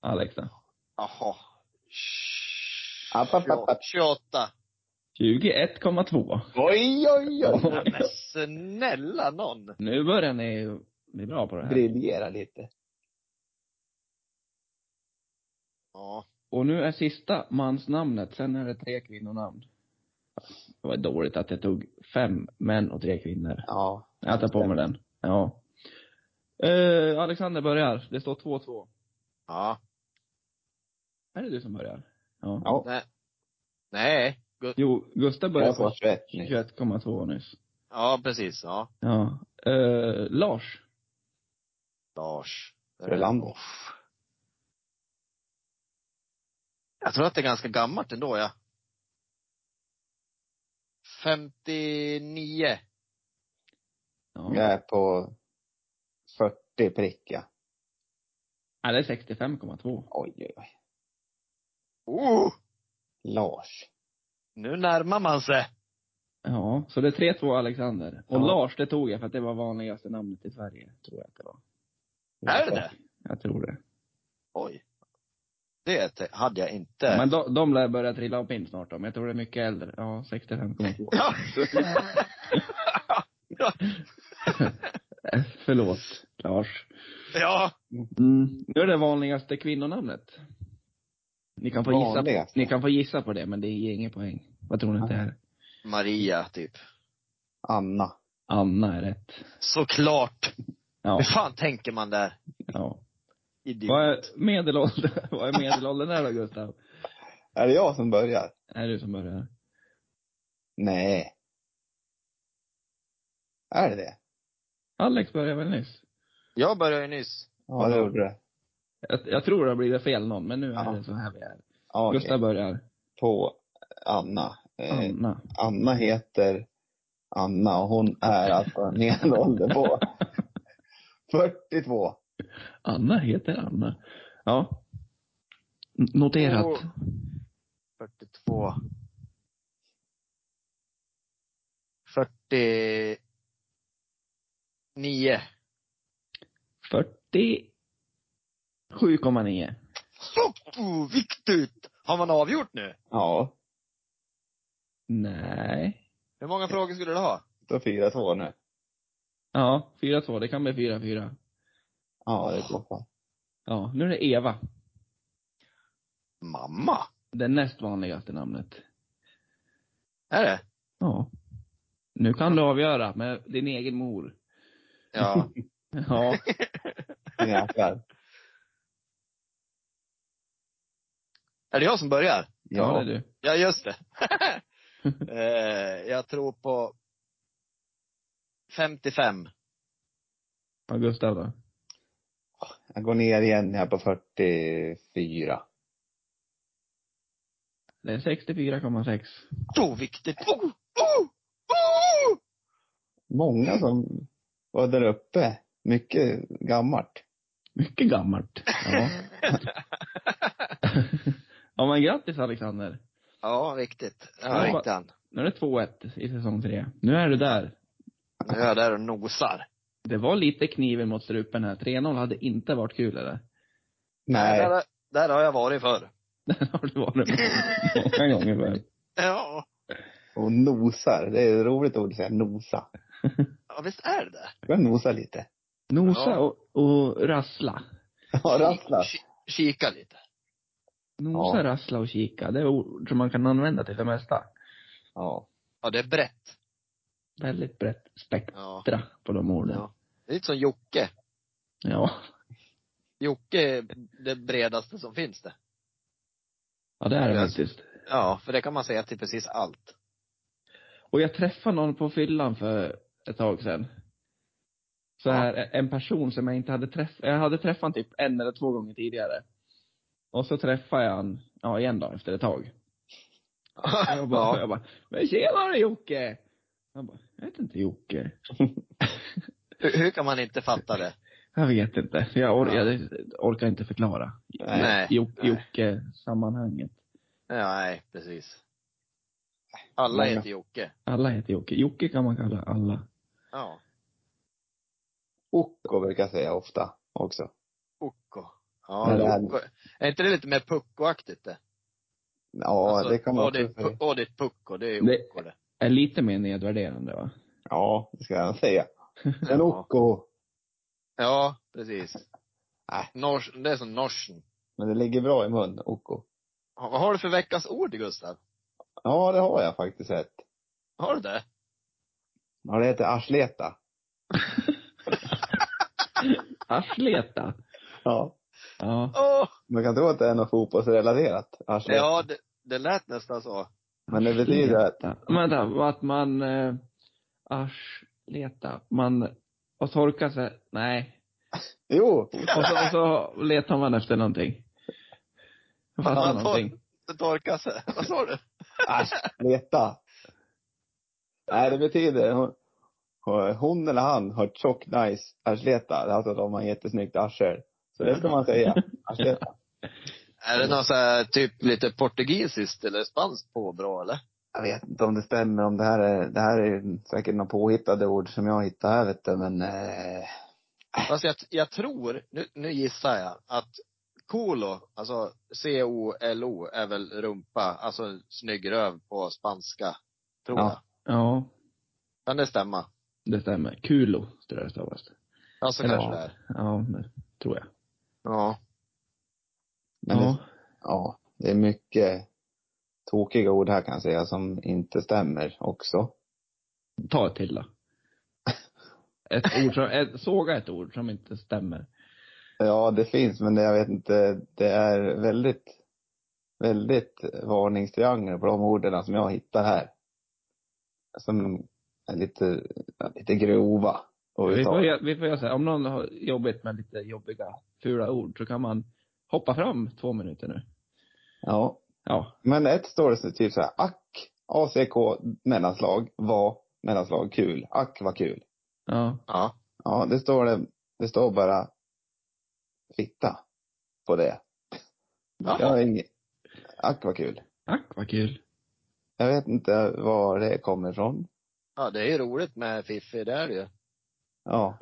[SPEAKER 1] Alex då?
[SPEAKER 2] Jaha.
[SPEAKER 3] App, app, app, app.
[SPEAKER 2] 28.
[SPEAKER 1] 21,2.
[SPEAKER 3] Oj, oj,
[SPEAKER 2] Nej, Men snälla någon.
[SPEAKER 1] Nu börjar ni bli bra på det här.
[SPEAKER 3] Briljera lite.
[SPEAKER 2] Ja.
[SPEAKER 1] Och nu är sista mansnamnet, sen är det tre kvinnonamn. Det var dåligt att jag tog fem män och tre kvinnor.
[SPEAKER 3] Ja.
[SPEAKER 1] Jag tar på mig den. Ja. Eh, Alexander börjar. Det står 2-2.
[SPEAKER 2] Ja.
[SPEAKER 1] Är det du som börjar? Ja.
[SPEAKER 3] Ja.
[SPEAKER 2] Nej. Gu-
[SPEAKER 1] Jo, Gustav börjar
[SPEAKER 3] Jag sa
[SPEAKER 1] på
[SPEAKER 3] 21 nu.
[SPEAKER 1] 21,2 nyss.
[SPEAKER 2] Ja, precis. Ja.
[SPEAKER 1] Ja. Eh, Lars.
[SPEAKER 2] Lars.
[SPEAKER 3] Frölander.
[SPEAKER 2] Jag tror att det är ganska gammalt ändå, ja. 59.
[SPEAKER 1] Ja.
[SPEAKER 3] Jag är på 40 prick, ja.
[SPEAKER 1] ja det är 65,2.
[SPEAKER 3] Oj, oj, oj.
[SPEAKER 2] Oh!
[SPEAKER 3] Lars.
[SPEAKER 2] Nu närmar man sig.
[SPEAKER 1] Ja, så det är 3-2 Alexander. Och
[SPEAKER 3] Ja.
[SPEAKER 1] Lars, det tog jag för att det var vanligaste namnet i Sverige, tror jag att det var.
[SPEAKER 2] Är det det?
[SPEAKER 1] Jag tror det.
[SPEAKER 2] Oj. Det te- hade jag inte.
[SPEAKER 1] Men de, de lär börja trilla av pinn snart om. Jag tror det är mycket äldre. Ja, 65,2.
[SPEAKER 2] Ja.
[SPEAKER 1] Eh, Förlåt, Lars.
[SPEAKER 2] ja.
[SPEAKER 1] Mm. Nu är det vanligaste kvinnonamnet. Ni kan, få gissa,
[SPEAKER 3] Vanligaste?
[SPEAKER 1] ni kan få gissa på det, men det ger ingen poäng. Vad tror ni att det är?
[SPEAKER 2] Maria, typ.
[SPEAKER 3] Anna.
[SPEAKER 1] Anna är rätt.
[SPEAKER 2] Såklart.
[SPEAKER 1] Ja.
[SPEAKER 2] Hur fan tänker man där?
[SPEAKER 1] ja. Vad
[SPEAKER 2] Idiot.
[SPEAKER 1] är medelåldern, vad är medelåldern där då Gustav?
[SPEAKER 3] Är det jag som börjar?
[SPEAKER 1] Är det du som börjar?
[SPEAKER 3] Nej. Är det det?
[SPEAKER 1] Alex började väl nyss?
[SPEAKER 2] Jag började ju nyss.
[SPEAKER 3] Ja, det gjorde det.
[SPEAKER 1] Jag, jag tror det har blivit fel någon, men nu är
[SPEAKER 3] Ja.
[SPEAKER 1] det så här vi är.
[SPEAKER 3] Ja, okej.
[SPEAKER 1] Gustav börjar.
[SPEAKER 3] På Anna. Eh,
[SPEAKER 1] Anna.
[SPEAKER 3] Anna heter Anna och hon är alltså medelåldern på 42.
[SPEAKER 1] Anna heter Anna. Ja. N- Noterat.
[SPEAKER 2] Åh. 42. 49.
[SPEAKER 1] 47,9.
[SPEAKER 2] Foppo! Viktigt! Har man avgjort nu?
[SPEAKER 3] Ja,
[SPEAKER 1] Nej.
[SPEAKER 2] Hur många frågor skulle du ha?
[SPEAKER 3] då 4-2 nu.
[SPEAKER 1] Ja, 4-2. Det kan bli 4-4.
[SPEAKER 3] Ja, det går bra.
[SPEAKER 1] Ja, nu är det Eva.
[SPEAKER 2] Mamma?
[SPEAKER 1] Det näst vanligaste namnet.
[SPEAKER 2] Är det?
[SPEAKER 1] Ja. Nu kan du avgöra med din egen mor.
[SPEAKER 2] Ja.
[SPEAKER 1] Ja.
[SPEAKER 3] Jäklar.
[SPEAKER 2] är det jag som börjar?
[SPEAKER 1] Ja, det
[SPEAKER 3] Ja,
[SPEAKER 1] är du.
[SPEAKER 2] Ja, just det. eh, jag tror på 55.
[SPEAKER 1] Ja, Gustav då?
[SPEAKER 3] jag går ner igen här på 44.
[SPEAKER 1] Det är 64,6.
[SPEAKER 2] Oh, viktigt! Oh, oh, oh!
[SPEAKER 3] Många som var där uppe. Mycket gammalt.
[SPEAKER 1] Mycket gammalt. Ja. ja men grattis Alexander.
[SPEAKER 2] Ja, viktigt.
[SPEAKER 1] Ja.
[SPEAKER 2] Ja, ringde han.
[SPEAKER 1] Nu är det 2-1 i säsong 3. Nu är du där.
[SPEAKER 2] Nu är jag där och nosar.
[SPEAKER 1] Det var lite kniven mot strupen här. 3-0 hade inte varit kul eller?
[SPEAKER 3] Nej,
[SPEAKER 2] Där, där har jag varit förr.
[SPEAKER 1] Den har du varit med många gånger förr.
[SPEAKER 2] Ja.
[SPEAKER 3] och nosar. Det är ett roligt ord att säga, nosa.
[SPEAKER 2] ja, visst är det det?
[SPEAKER 3] Ska nosa lite.
[SPEAKER 1] Nosa
[SPEAKER 2] Ja.
[SPEAKER 1] och, och rassla.
[SPEAKER 3] Ja, rassla.
[SPEAKER 2] Ki- Kika lite.
[SPEAKER 1] Nosa,
[SPEAKER 3] Ja.
[SPEAKER 1] rassla och kika. Det är ord som man kan använda till det mesta.
[SPEAKER 3] Ja.
[SPEAKER 2] Ja, det är brett.
[SPEAKER 1] Väldigt brett spektra
[SPEAKER 2] Ja.
[SPEAKER 1] på de orden. Ja.
[SPEAKER 2] ja. Det är lite som Jocke.
[SPEAKER 1] ja.
[SPEAKER 2] Jocke är det bredaste som finns det.
[SPEAKER 1] det är det
[SPEAKER 2] Ja.
[SPEAKER 1] faktiskt.
[SPEAKER 2] Ja, för det kan man säga till precis allt.
[SPEAKER 1] Och jag träffade någon på fyllan för ett tag sedan. Så här, en person som jag inte hade träffat, jag hade träffat han typ en eller två gånger tidigare. Och så träffade jag han, ja igen då, efter ett tag. Och Jag bara,
[SPEAKER 2] Ja.
[SPEAKER 1] jag bara, men tjenare Jocke! Han bara, jag heter inte Jocke.
[SPEAKER 2] Hur, hur kan man inte fatta det?
[SPEAKER 1] Jag vet inte, för jag, or-
[SPEAKER 2] Ja.
[SPEAKER 1] jag orkar inte förklara.
[SPEAKER 3] Nej.
[SPEAKER 2] Nej.
[SPEAKER 1] Jo-
[SPEAKER 2] Nej.
[SPEAKER 1] Jocke-sammanhanget.
[SPEAKER 2] Ja, nej, precis. Alla
[SPEAKER 3] Många.
[SPEAKER 2] heter Jocke.
[SPEAKER 1] Alla heter Jocke. Jocke kan man kalla alla.
[SPEAKER 2] Ja.
[SPEAKER 3] Oko brukar jag säga ofta också.
[SPEAKER 2] Ocko.
[SPEAKER 3] Men det
[SPEAKER 2] Ja,
[SPEAKER 3] här-
[SPEAKER 2] Ocko. Är inte det lite mer puckoaktigt det?
[SPEAKER 3] Ja,
[SPEAKER 2] Alltså,
[SPEAKER 3] det kan man
[SPEAKER 2] Åh, det är
[SPEAKER 3] också
[SPEAKER 2] pu-
[SPEAKER 3] säga.
[SPEAKER 2] åh, det är ett pucko, det är
[SPEAKER 1] Det-
[SPEAKER 2] Ocko det.
[SPEAKER 1] Är lite mer nedvärderande va?
[SPEAKER 3] Ja, det ska jag säga. En
[SPEAKER 2] Ja.
[SPEAKER 3] oko.
[SPEAKER 2] Ja, precis. Äh,
[SPEAKER 3] Nej.
[SPEAKER 2] Nors, det är som norsen.
[SPEAKER 3] Men det ligger bra i mun, oko.
[SPEAKER 2] Ha- Vad har du för veckans ord, Gustav?
[SPEAKER 3] Ja, det har jag faktiskt sett.
[SPEAKER 2] Har du det?
[SPEAKER 3] Ja, det heter arsleta.
[SPEAKER 1] Arsleta.
[SPEAKER 3] Ja.
[SPEAKER 1] Ja.
[SPEAKER 2] Åh!
[SPEAKER 3] Man kan tro att det är något fotbollsrelaterat, arsleta.
[SPEAKER 2] Ja, det, det lät nästan så.
[SPEAKER 3] Men det betyder att,
[SPEAKER 1] Vänta, vänta, vad att man, eh, arsleta, man, och torka sig, nej.
[SPEAKER 3] jo,
[SPEAKER 1] Och så, och så letar man efter någonting. Jag fattar
[SPEAKER 2] Man tor-
[SPEAKER 1] någonting.
[SPEAKER 2] Det torkar sig. Vad sa du?
[SPEAKER 3] arsleta. Nej, det betyder, hon, hon eller han har tjock nice arsleta. Det är Alltså de har jättesnyggt arsel. Så det ska man säga, arsleta.
[SPEAKER 2] Är det något så här, typ lite portugisiskt eller spanskt påbrå eller?
[SPEAKER 3] Jag vet inte om det stämmer, om det här är, det här är ju säkert några påhittade ord som jag hittar här vet du, men eh,
[SPEAKER 2] Fast jag, jag tror, nu, nu gissar jag, att colo, alltså C-O-L-O, är väl rumpa, alltså snygg röv på spanska. Tror
[SPEAKER 3] Ja.
[SPEAKER 2] jag.
[SPEAKER 1] Ja,
[SPEAKER 2] Kan det stämma?
[SPEAKER 1] det stämmer. Kulo, tror jag det stavas.
[SPEAKER 2] Ja, så
[SPEAKER 1] Eller-
[SPEAKER 2] kanske det är.
[SPEAKER 1] Ja, det tror jag.
[SPEAKER 2] Ja.
[SPEAKER 3] men
[SPEAKER 1] ja.
[SPEAKER 3] Det, ja, det är mycket tokiga ord här kan jag säga som inte stämmer också.
[SPEAKER 1] Ta ett till då. Ett ord som, ett, såga ett ord som inte stämmer.
[SPEAKER 3] Ja, det finns, men det, jag vet inte, det är väldigt, väldigt varningstriangler på de orden som jag hittar här. Som är lite, lite grova. Och
[SPEAKER 1] Vi får, gö- vi får göra så här, om någon har jobbigt med lite jobbiga, fula ord så kan man hoppa fram två minuter nu.
[SPEAKER 3] ja.
[SPEAKER 1] Ja.
[SPEAKER 3] Men ett står det så typ så här, ack, ACK, mellanslag, var, mellanslag, kul. Ack var kul.
[SPEAKER 1] Ja.
[SPEAKER 2] Ja.
[SPEAKER 3] Ja, det står det, det står bara fitta på det. Jag har ingen, ack var kul.
[SPEAKER 1] Ack vad kul.
[SPEAKER 3] Jag vet inte var det kommer ifrån.
[SPEAKER 2] Ja, det är ju roligt med Fiffi, det är det ju.
[SPEAKER 3] Ja.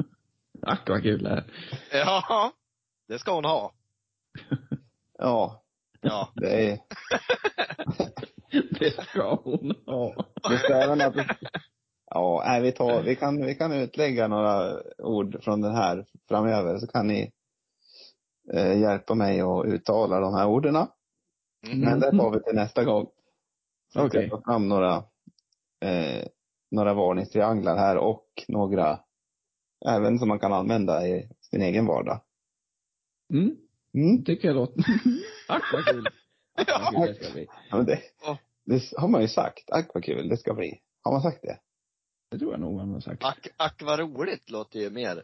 [SPEAKER 1] Ack vad kul det är.
[SPEAKER 2] Ja, det ska hon ha.
[SPEAKER 3] Ja,
[SPEAKER 2] Ja.
[SPEAKER 3] det är...
[SPEAKER 1] Det ska hon ha.
[SPEAKER 3] Det ska även att... Ja, nej, vi, tar, vi, kan, vi kan utlägga några ord från den här framöver så kan ni eh, hjälpa mig att uttala de här orden.
[SPEAKER 2] Mm.
[SPEAKER 3] Men det tar vi till nästa gång. Så ska
[SPEAKER 1] Okej.
[SPEAKER 3] jag ta fram några, eh, några varningstrianglar här och några även som man kan använda i sin egen vardag.
[SPEAKER 1] Mm,
[SPEAKER 3] Mm.
[SPEAKER 1] tycker jag låter. Ack vad kul. Ack vad kul det ska bli.
[SPEAKER 3] Ja, men det,
[SPEAKER 2] Ja.
[SPEAKER 3] det har man ju sagt. Ack vad kul det ska bli. Har man sagt det?
[SPEAKER 1] Det tror jag nog man har sagt.
[SPEAKER 2] Ack, ack vad roligt låter ju mer.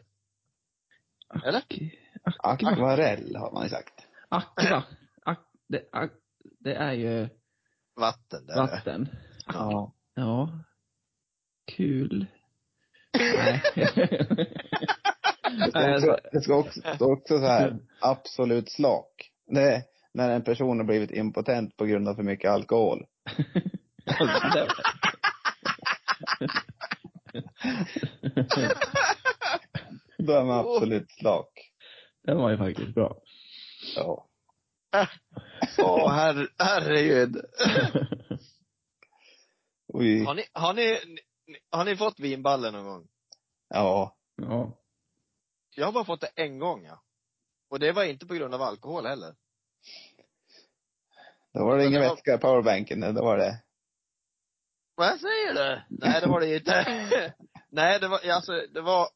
[SPEAKER 2] Eller?
[SPEAKER 3] Akvarell har man ju sagt.
[SPEAKER 1] Aqua. Ak, det, ak, det är ju
[SPEAKER 2] Vatten där.
[SPEAKER 1] vatten.
[SPEAKER 3] Ja.
[SPEAKER 1] Ja. Kul. Nej.
[SPEAKER 3] Det ska också, det ska också, det ska också så här, absolut slak. Det är när en person har blivit impotent på grund av för mycket alkohol. Då är man absolut slak.
[SPEAKER 1] Den var ju faktiskt bra.
[SPEAKER 3] Ja.
[SPEAKER 2] Åh, her, herregud.
[SPEAKER 3] Oj.
[SPEAKER 2] Har ni, har ni, ni- har ni fått vinballen någon gång?
[SPEAKER 3] Ja.
[SPEAKER 1] Ja.
[SPEAKER 2] Jag har bara fått det en gång, ja. Och det var inte på grund av alkohol heller.
[SPEAKER 3] Då var det ingen
[SPEAKER 2] Men det var-
[SPEAKER 3] vätska i powerbanken. Då var det
[SPEAKER 2] Vad säger du? Nej, det var det inte. Nej, det var, alltså, det var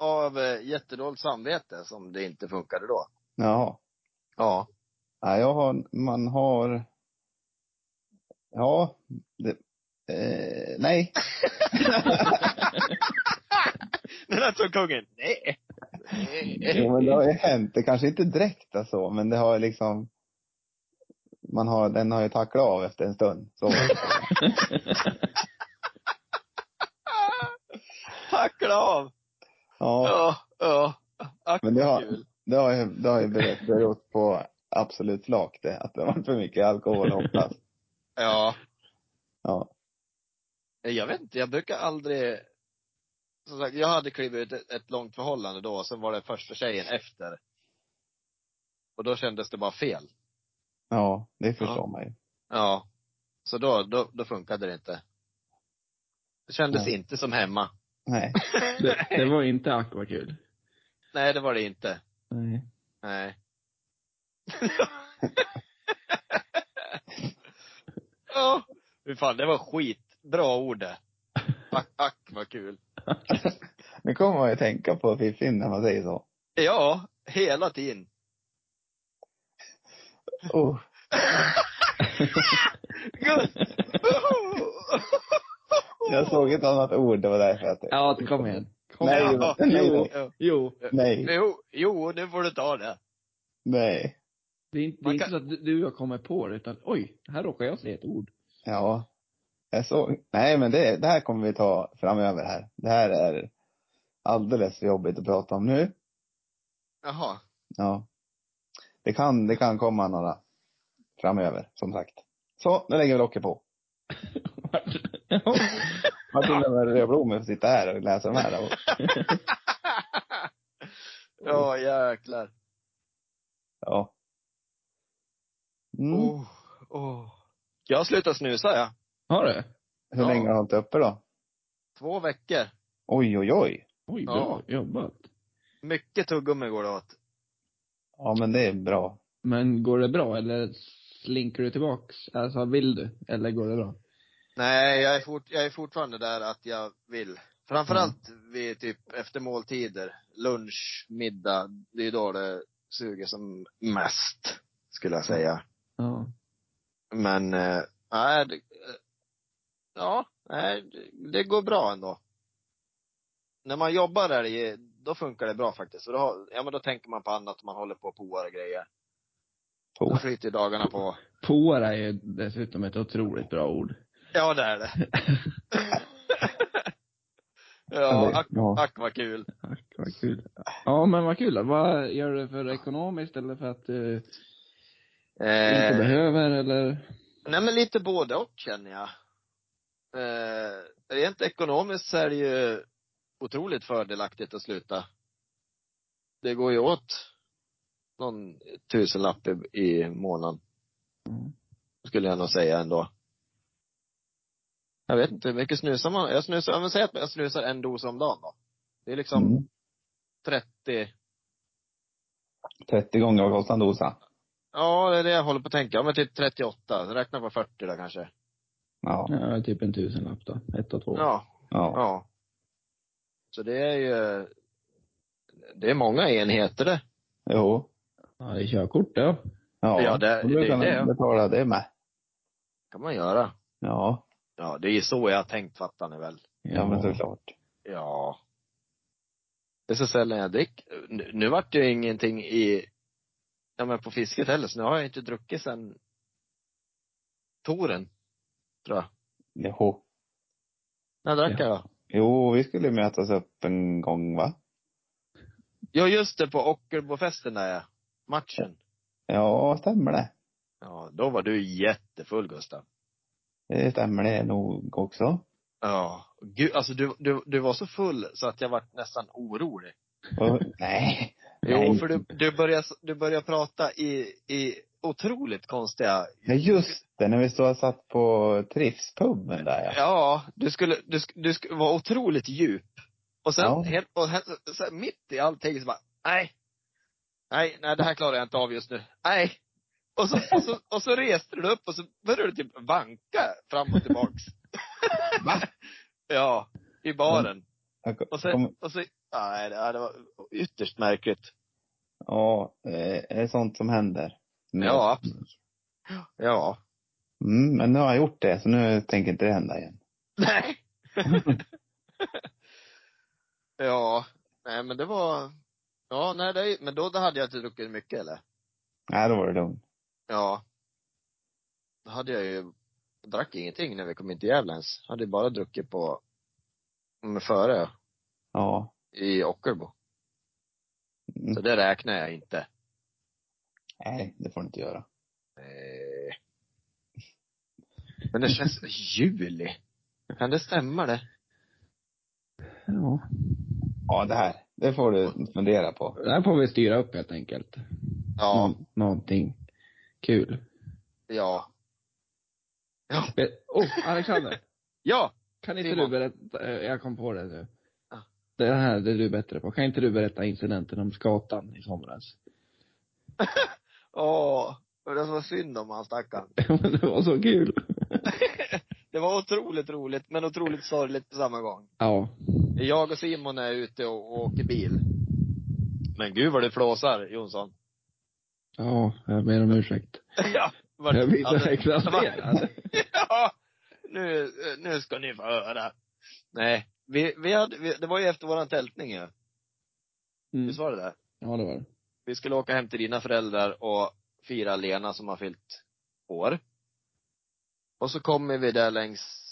[SPEAKER 2] av eh, jättedåligt samvete som det inte funkade då.
[SPEAKER 3] Jaha.
[SPEAKER 2] Ja.
[SPEAKER 3] Ja, jag har, man har... Ja, det, eh, nej.
[SPEAKER 2] Den där tog kungen. Nej.
[SPEAKER 3] Jo, men det har ju hänt. Det kanske inte direkt är så, men det har liksom... Man har, den har ju tacklat av efter en stund. Så.
[SPEAKER 2] Tackla av.
[SPEAKER 3] Ja,
[SPEAKER 2] Ja, ja. Ack,
[SPEAKER 3] Men det har-
[SPEAKER 2] vad kul.
[SPEAKER 3] det har ju, det har ju berott- berott på absolut flak det. Att det var för mycket alkohol hoppas.
[SPEAKER 2] Ja.
[SPEAKER 3] Ja.
[SPEAKER 2] Jag vet inte, jag brukar aldrig... Som sagt, jag hade klivit ut ett, ett långt förhållande då, sen var det första tjejen efter. Och då kändes det bara fel.
[SPEAKER 3] Ja, det förstår man ju.
[SPEAKER 2] Ja. Så då, då, då funkade det inte. Det kändes
[SPEAKER 3] Nej.
[SPEAKER 2] inte som hemma.
[SPEAKER 3] Nej.
[SPEAKER 1] Det, det var inte aqua kul.
[SPEAKER 2] Nej, det var det inte.
[SPEAKER 1] Nej.
[SPEAKER 2] Nej. Ja, fy fan, det var skitbra ord det. Ack, ack vad kul.
[SPEAKER 3] Nu kommer man ju tänka på fiffin när man säger så.
[SPEAKER 2] Ja, hela tiden.
[SPEAKER 3] Oh.
[SPEAKER 2] Gud.
[SPEAKER 3] Jag såg ett annat ord, det var därför jag tänkte.
[SPEAKER 1] Ja, kom igen. Kom
[SPEAKER 3] Nej,
[SPEAKER 1] igen.
[SPEAKER 2] ja.
[SPEAKER 1] Jo,
[SPEAKER 2] Ja.
[SPEAKER 1] jo.
[SPEAKER 3] Nej,
[SPEAKER 2] Jo, jo, nu får du ta det.
[SPEAKER 3] nej.
[SPEAKER 1] Det är inte, det är
[SPEAKER 2] Man
[SPEAKER 1] inte
[SPEAKER 2] kan-
[SPEAKER 1] så att du- du och jag kommer på det, utan oj, här råkar jag säga ett ord.
[SPEAKER 3] Ja. Jag såg. Nej, men det, det här kommer vi ta framöver här. Det här är alldeles för jobbigt att prata om nu.
[SPEAKER 2] Jaha.
[SPEAKER 3] Ja. Det kan, det kan komma några framöver, som sagt. Så, nu lägger vi locket på. Martin Löfberg-Rödblom får sitta här och läsa de här. Och,
[SPEAKER 2] Ja, jäklar.
[SPEAKER 3] ja. Mm.
[SPEAKER 2] Oh, oh. Jag slutar snusa, ja.
[SPEAKER 1] Har du?
[SPEAKER 3] Hur länge har du hållit uppe då?
[SPEAKER 2] Två veckor.
[SPEAKER 3] Oj, oj, oj.
[SPEAKER 1] Oj, bra jobbat.
[SPEAKER 2] Mycket tuggummi går det åt.
[SPEAKER 3] Ja, men det är bra.
[SPEAKER 1] Men går det bra eller slinker du tillbaks? Alltså vill du? Eller går det bra?
[SPEAKER 2] Nej, jag är, fort, jag är fortfarande där att jag vill. Framförallt
[SPEAKER 3] Mm.
[SPEAKER 2] vid typ efter måltider, lunch, middag. Det är då det suger som mest, skulle jag säga.
[SPEAKER 1] Ja.
[SPEAKER 2] Men, eh, nej, det, eh, ja, nej, det- det går bra ändå. När man jobbar där, i- då funkar det bra faktiskt. För då, har- ja, men då tänker man på annat, man håller på och poar och grejer. Då
[SPEAKER 3] På.
[SPEAKER 2] flyter dagarna på.
[SPEAKER 1] Påar är ju dessutom ett otroligt bra ord.
[SPEAKER 2] Ja, det är det. ja,
[SPEAKER 3] Eller,
[SPEAKER 2] ack,
[SPEAKER 3] ja.
[SPEAKER 2] ack vad kul.
[SPEAKER 1] Tack, vad kul. Ja, men vad kul. Vad gör du för ekonomiskt eller för att du inte
[SPEAKER 2] Eh,
[SPEAKER 1] behöver eller?
[SPEAKER 2] nej men lite både och känner jag. Eh, rent ekonomiskt så är det ju otroligt fördelaktigt att sluta. Det går ju åt någon tusenlapp i, i månaden.
[SPEAKER 1] Mm.
[SPEAKER 2] Skulle jag nog säga ändå. Jag vet inte, hur mycket snusar man? Jag snusar, jag vill säga att jag snusar en dos om dagen då. Det är liksom
[SPEAKER 3] Mm.
[SPEAKER 2] 30,
[SPEAKER 3] 30 gånger vad kostar en dosa?
[SPEAKER 2] ja det är det jag håller på att tänka. Ja men typ 38, räkna på 40 då kanske.
[SPEAKER 3] Ja.
[SPEAKER 1] Ja, typ en tusenlapp då. Ett och två.
[SPEAKER 2] Ja,
[SPEAKER 3] ja.
[SPEAKER 2] Ja. Så det är ju, det är många enheter det.
[SPEAKER 3] Jo.
[SPEAKER 1] Ja, det är körkort ja.
[SPEAKER 3] Ja,
[SPEAKER 2] Ja, det-
[SPEAKER 3] då brukar
[SPEAKER 2] det- det-
[SPEAKER 3] man betala det med.
[SPEAKER 2] kan man göra.
[SPEAKER 3] Ja,
[SPEAKER 2] Ja, det är så jag har tänkt fattar ni väl.
[SPEAKER 3] ja, men såklart.
[SPEAKER 2] Ja. Det är så sällan jag drick. Nu, nu vart det ju ingenting i, ja men på fisket heller, så nu har jag inte druckit sen toren. Tror jag.
[SPEAKER 3] Jo.
[SPEAKER 2] När drack
[SPEAKER 1] Ja.
[SPEAKER 2] jag då?
[SPEAKER 3] jo, vi skulle mötas upp en gång va?
[SPEAKER 2] Ja just det, på Ockelbofesten där ja. Matchen.
[SPEAKER 3] Ja, stämmer det.
[SPEAKER 2] Ja, då var du jättefull Gustav.
[SPEAKER 3] Det stämmer det nog också.
[SPEAKER 2] Ja. Gud, alltså du, du, du var så full så att jag vart nästan orolig.
[SPEAKER 3] Och, nej.
[SPEAKER 2] Jo,
[SPEAKER 3] Nej.
[SPEAKER 2] för du, du börjar, du börjar prata i, i otroligt konstiga...
[SPEAKER 3] Ja, just det. När vi stod och satt på Trivspubben där ja.
[SPEAKER 2] Ja, du skulle, du, sk- du skulle vara otroligt djup. Och sen,
[SPEAKER 3] Ja.
[SPEAKER 2] helt, och he- så här, mitt i allting så bara, nej. Nej, nej det här klarar jag inte av just nu. Nej. Och så, och så, och så reste du dig upp och så började du typ vanka fram och tillbaks.
[SPEAKER 3] Va?
[SPEAKER 2] Ja, i baren.
[SPEAKER 3] Jag kom-
[SPEAKER 2] Och sen,
[SPEAKER 3] kom-
[SPEAKER 2] och så, nej det, det var ytterst märkligt.
[SPEAKER 3] Ja, eh, det är sånt som händer. Men-
[SPEAKER 2] Ja, absolut. Ja.
[SPEAKER 3] Mm, men nu har jag gjort det, så nu tänker inte det hända igen.
[SPEAKER 2] Nej. ja, nej men det var, ja nej det, men då, då hade jag inte druckit mycket eller?
[SPEAKER 3] Nej, då var det lugnt.
[SPEAKER 2] Ja. Då hade jag ju, jag drack ingenting när vi kom in till Gävle ens. Hade ju bara druckit på, men före,
[SPEAKER 3] Ja.
[SPEAKER 2] i Ockelbo.
[SPEAKER 3] Mm.
[SPEAKER 2] Så det räknar jag inte.
[SPEAKER 3] Nej, det får du inte göra.
[SPEAKER 2] Eh. Men det känns, juli? Kan det stämma det?
[SPEAKER 1] ja.
[SPEAKER 3] Ja, det här, det får du fundera på.
[SPEAKER 1] Det här får vi styra upp helt enkelt.
[SPEAKER 2] Ja,
[SPEAKER 1] Nå- någonting kul.
[SPEAKER 2] ja. Ja,
[SPEAKER 1] Be- oh, Alexander.
[SPEAKER 2] ja.
[SPEAKER 1] Kan inte
[SPEAKER 2] Simon.
[SPEAKER 1] du berätta, eh, jag kom på det nu.
[SPEAKER 2] Ja.
[SPEAKER 1] Det här är du bättre på. Kan inte du berätta incidenten om skatan i somras?
[SPEAKER 2] Åh, och det var synd om han stackaren.
[SPEAKER 1] det var så kul.
[SPEAKER 2] Det var otroligt roligt, men otroligt sorgligt på samma gång.
[SPEAKER 1] Ja.
[SPEAKER 2] Jag och Simon är ute och, och åker bil. Men gud vad det flåsar, Jonsson.
[SPEAKER 1] Ja, jag ber om ursäkt.
[SPEAKER 2] ja, vart,
[SPEAKER 1] Jag blir så
[SPEAKER 2] hade-
[SPEAKER 1] exalterad.
[SPEAKER 2] Alltså, ja, nu, nu ska ni få höra. Nej, vi, vi hade, vi, det var ju efter våran tältning ju.
[SPEAKER 1] Mm.
[SPEAKER 2] Visst var det där?
[SPEAKER 1] Ja, det var det.
[SPEAKER 2] Vi skulle åka hem till dina föräldrar och fira Lena som har fyllt år. Och så kommer vi där längs,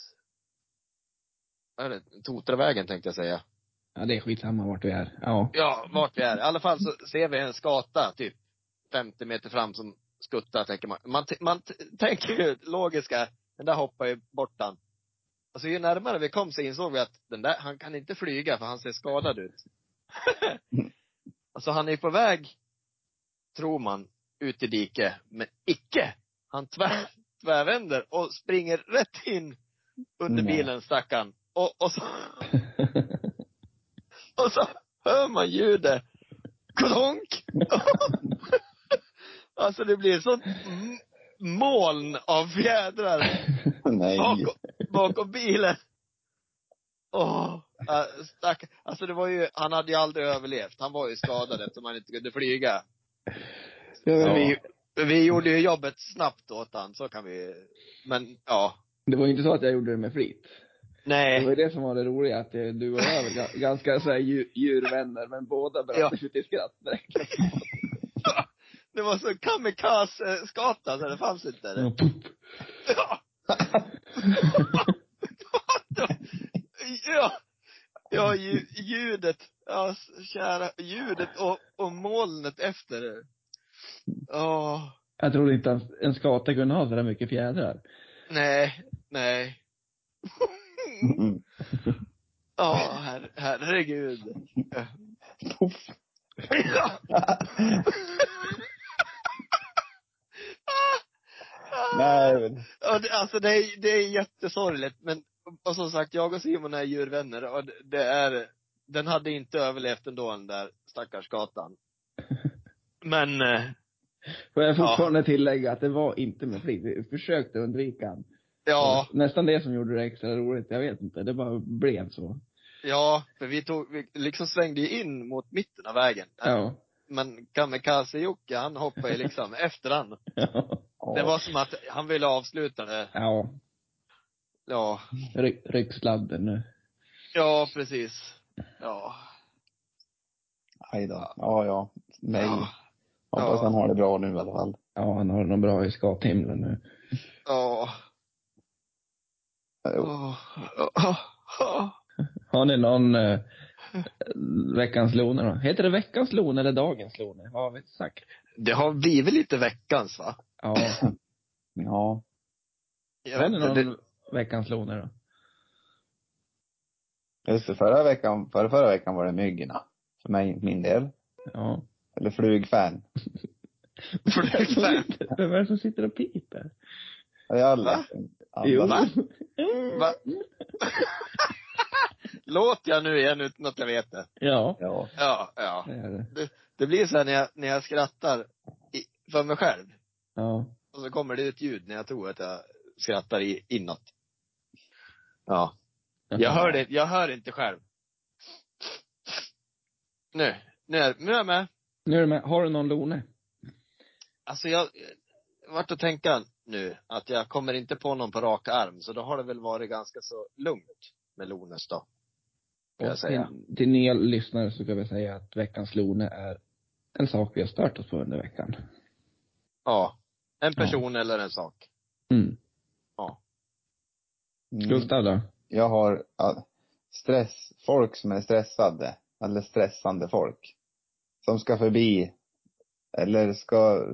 [SPEAKER 2] vad är det, Totravägen tänkte jag säga.
[SPEAKER 1] Ja, det är skitsamma vart vi är. Ja.
[SPEAKER 2] Ja, vart vi är. I alla fall så ser vi en skata typ 50 meter fram som skuttar tänker man. Man, t- man t- tänker ju logiska, den där hoppar ju bort han. Och så ju närmare vi kom så insåg vi att den där, han kan inte flyga för han ser skadad ut. alltså han är på väg, tror man, ut i diket. Men icke! Han tvär, tvärvänder och springer rätt in under
[SPEAKER 3] Nej.
[SPEAKER 2] bilen stackarn. Och, och så och så hör man ljudet. Klonk! alltså det blir ett sånt m- moln av fjädrar
[SPEAKER 3] Nej.
[SPEAKER 2] bakom, bakom bilen. Åh, äh, stack. Alltså det var ju, han hade ju aldrig överlevt. Han var ju skadad eftersom han inte kunde flyga.
[SPEAKER 3] Ja.
[SPEAKER 2] Vi, vi gjorde ju jobbet snabbt åt han, så kan vi Men ja.
[SPEAKER 1] Det var ju inte så att jag gjorde det med flit. Det var
[SPEAKER 2] Nej.
[SPEAKER 1] ju det som var det roliga, att eh, du och jag är väl ga- ganska så här dju- djurvänner, men båda bröt ut i skratt direkt.
[SPEAKER 2] Det var så kamikaze-skata så det fanns inte.
[SPEAKER 3] Mm.
[SPEAKER 2] Det. Ja. ja. Ja, lju- ljudet. Ja, s- kära. Ljudet och, och molnet efter det. Ja.
[SPEAKER 1] Jag trodde inte att en skata kunde ha så där mycket fjädrar.
[SPEAKER 2] Nej. Nej.
[SPEAKER 3] Mm.
[SPEAKER 2] Ja, her, herregud.
[SPEAKER 3] Poff. Nej, men.
[SPEAKER 2] Ja, det, alltså det är, det är jättesorgligt. Men och som sagt, jag och Simon är djurvänner och det- det är, den hade inte överlevt ändå den där stackars gatan. Men, eh,
[SPEAKER 1] Får jag fortfarande tillägga att det var inte med flit. Vi försökte undvika han.
[SPEAKER 2] ja,
[SPEAKER 1] Nästan det som gjorde det extra roligt. Jag vet inte. Det bara blev så.
[SPEAKER 2] ja, för vi tog, vi liksom svängde ju in mot mitten av vägen.
[SPEAKER 1] Ja.
[SPEAKER 2] Men Kamikaze-Jocke, han hoppade ju liksom efter han.
[SPEAKER 1] Ja.
[SPEAKER 2] Det var som att han ville avsluta det.
[SPEAKER 1] ja.
[SPEAKER 2] Ja,
[SPEAKER 1] Ryck, ryck sladden nu.
[SPEAKER 2] ja precis. Ja.
[SPEAKER 3] Aj då. Ja, ja. Nej.
[SPEAKER 2] Ja.
[SPEAKER 3] Hoppas
[SPEAKER 2] Ja.
[SPEAKER 3] han har det bra nu i alla fall.
[SPEAKER 1] Ja, han har någon bra i skathimlen nu.
[SPEAKER 2] Ja.
[SPEAKER 3] Jo.
[SPEAKER 2] Åh, åh, åh.
[SPEAKER 1] Har ni någon eh, veckans loner då? Heter det veckans lon eller dagens loner? Vad har vi sagt?
[SPEAKER 2] Det har blivit lite veckans va?
[SPEAKER 1] Ja.
[SPEAKER 3] Ja.
[SPEAKER 2] Jag
[SPEAKER 1] Har ni
[SPEAKER 2] inte,
[SPEAKER 1] någon
[SPEAKER 2] det,
[SPEAKER 1] veckans loner då?
[SPEAKER 3] Just det, förra veckan, förra, förra veckan var det myggorna. För mig, min del.
[SPEAKER 1] Ja.
[SPEAKER 3] Eller flugfän.
[SPEAKER 1] Vem är det som sitter- Vem är det som sitter och piper?
[SPEAKER 3] Det är alla.
[SPEAKER 2] Va?
[SPEAKER 3] alla.
[SPEAKER 1] Jo.
[SPEAKER 2] Va? va? Låt jag nu igen utan att jag vet det.
[SPEAKER 1] Ja.
[SPEAKER 3] Ja.
[SPEAKER 2] Ja, ja.
[SPEAKER 1] Det är det.
[SPEAKER 2] Det blir så här när jag, när jag skrattar i, för mig själv.
[SPEAKER 1] Ja.
[SPEAKER 2] Och så kommer det ett ljud när jag tror att jag skrattar i, inåt. Ja. Jag hör det, jag hör inte själv. Nu, nu är, nu är jag med.
[SPEAKER 1] Nu är du med. Har du någon lone?
[SPEAKER 2] Alltså jag, jag vart att tänka nu att jag kommer inte på någon på rak arm, så då har det väl varit ganska så lugnt med Lones då. Kan jag säga.
[SPEAKER 1] Till, till nya lyssnare så kan vi säga att veckans lone är en sak vi har stört oss på under veckan.
[SPEAKER 2] Ja. En person eller en sak.
[SPEAKER 1] Mm.
[SPEAKER 3] Mm.
[SPEAKER 1] Gustav då?
[SPEAKER 3] Jag har ja, stress, folk som är stressade. Eller stressande folk. Som ska förbi. Eller ska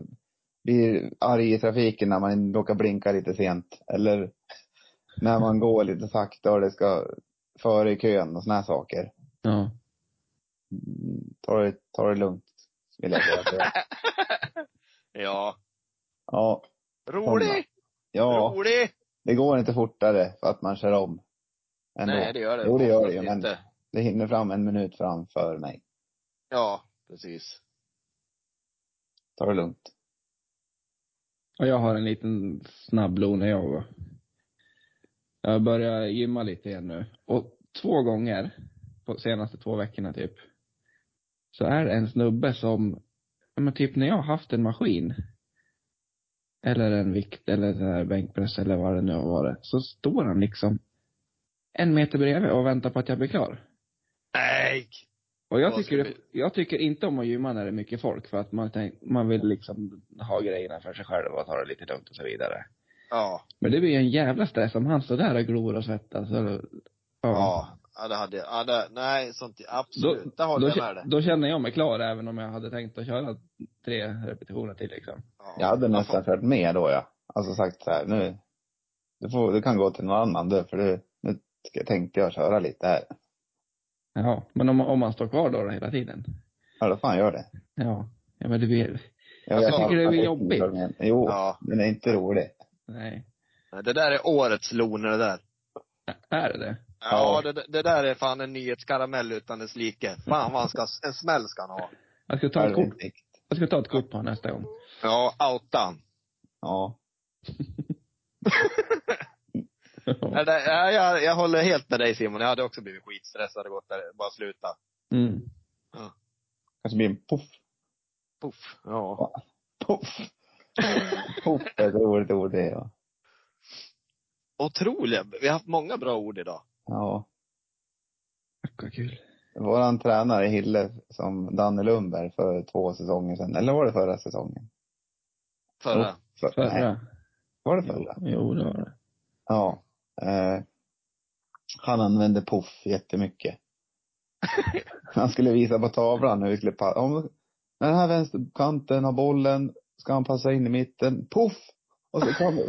[SPEAKER 3] bli arg i trafiken när man råkar blinka lite sent. Eller när man går lite sakta och det ska före i kön och såna här saker.
[SPEAKER 1] Ja.
[SPEAKER 3] Mm, ta det, ta det lugnt, vill jag säga.
[SPEAKER 2] Ja.
[SPEAKER 3] Ja,
[SPEAKER 2] Rolig!
[SPEAKER 3] ja,
[SPEAKER 2] Rolig!
[SPEAKER 3] det går inte fortare för att man kör om. Ändå.
[SPEAKER 2] Nej, det gör det.
[SPEAKER 3] Jo, det gör det ju,
[SPEAKER 2] Oftast
[SPEAKER 3] men-
[SPEAKER 2] inte.
[SPEAKER 3] Det hinner fram en minut framför mig.
[SPEAKER 2] Ja, precis.
[SPEAKER 3] Ta det lugnt.
[SPEAKER 1] Och jag har en liten snabb lone jag också. Jag börjar gymma lite igen nu. Och två gånger, på senaste två veckorna typ, så är det en snubbe som, ja, men typ när jag har haft en maskin, eller en vikt eller så här bänkpress eller vad det nu har varit, så står han liksom en meter bredvid och väntar på att jag blir klar.
[SPEAKER 2] Nej!
[SPEAKER 1] Och jag
[SPEAKER 2] Vad
[SPEAKER 1] tycker,
[SPEAKER 2] ska
[SPEAKER 1] det,
[SPEAKER 2] vi-
[SPEAKER 1] jag tycker inte om att gymma när det är mycket folk för att man, tänk, man vill liksom ha grejerna för sig själv och ta det lite lugnt och så vidare.
[SPEAKER 2] Ja.
[SPEAKER 1] Men det blir ju en jävla stress om han står där och glor och svettas. Och, ja.
[SPEAKER 2] Ja. Ja, det hade jag. Ja, det, nej, sånt, absolut. det håller
[SPEAKER 1] Då,
[SPEAKER 2] jag med dig.
[SPEAKER 1] då känner jag mig klar även om jag hade tänkt att köra tre repetitioner till liksom.
[SPEAKER 2] Ja.
[SPEAKER 3] Jag hade
[SPEAKER 2] Ja,
[SPEAKER 3] nästan kört med då, ja. Alltså sagt så här, nu, du, får, du kan gå till någon annan du, för du, nu ska- tänkte jag köra lite här.
[SPEAKER 1] Ja, men om, om man står kvar då, då hela tiden.
[SPEAKER 3] Ja, då fan gör det.
[SPEAKER 1] Ja. Ja men det blir,
[SPEAKER 2] Jag
[SPEAKER 3] vet
[SPEAKER 2] tycker
[SPEAKER 1] det är
[SPEAKER 3] att-
[SPEAKER 1] jobbigt.
[SPEAKER 3] Jo,
[SPEAKER 2] Ja.
[SPEAKER 3] den är inte rolig.
[SPEAKER 1] nej.
[SPEAKER 2] Nej, Det där är årets loner det där.
[SPEAKER 1] Är det det?
[SPEAKER 2] Ja,
[SPEAKER 3] Ja.
[SPEAKER 2] det, det där är fan en nyhetskaramell utan dess like. Fan vad han ska, en smäll ska han ha.
[SPEAKER 1] Jag ska ta
[SPEAKER 3] Ja,
[SPEAKER 1] ett
[SPEAKER 3] det är
[SPEAKER 1] kort,
[SPEAKER 3] inte-
[SPEAKER 1] jag ska ta ett kort på honom nästa gång.
[SPEAKER 2] Ja, outa han.
[SPEAKER 3] Ja.
[SPEAKER 2] Nej, det- ja, jag, jag håller helt med dig Simon. Jag hade också blivit skitstressad och gått där, bara sluta.
[SPEAKER 1] Mm.
[SPEAKER 3] Kanske blir en poff.
[SPEAKER 2] Puff. Ja.
[SPEAKER 3] Poff. Poff är ett roligt ord det, ja.
[SPEAKER 2] Otroliga. Vi har haft många bra ord idag.
[SPEAKER 3] Ja.
[SPEAKER 1] Tack, vad kul.
[SPEAKER 3] Våran tränare Hille, som Danne Lundberg för två säsonger sedan, eller var det förra säsongen?
[SPEAKER 2] Förra.
[SPEAKER 3] För, Nej,
[SPEAKER 1] Förra?
[SPEAKER 3] var det
[SPEAKER 1] Jo,
[SPEAKER 3] förra?
[SPEAKER 1] jo, det var det.
[SPEAKER 3] Ja. Eh, han använde poff jättemycket. han skulle visa på tavlan hur vi skulle passa. Om den här vänsterkanten har bollen, ska han passa in i mitten, poff! Och så kan vi.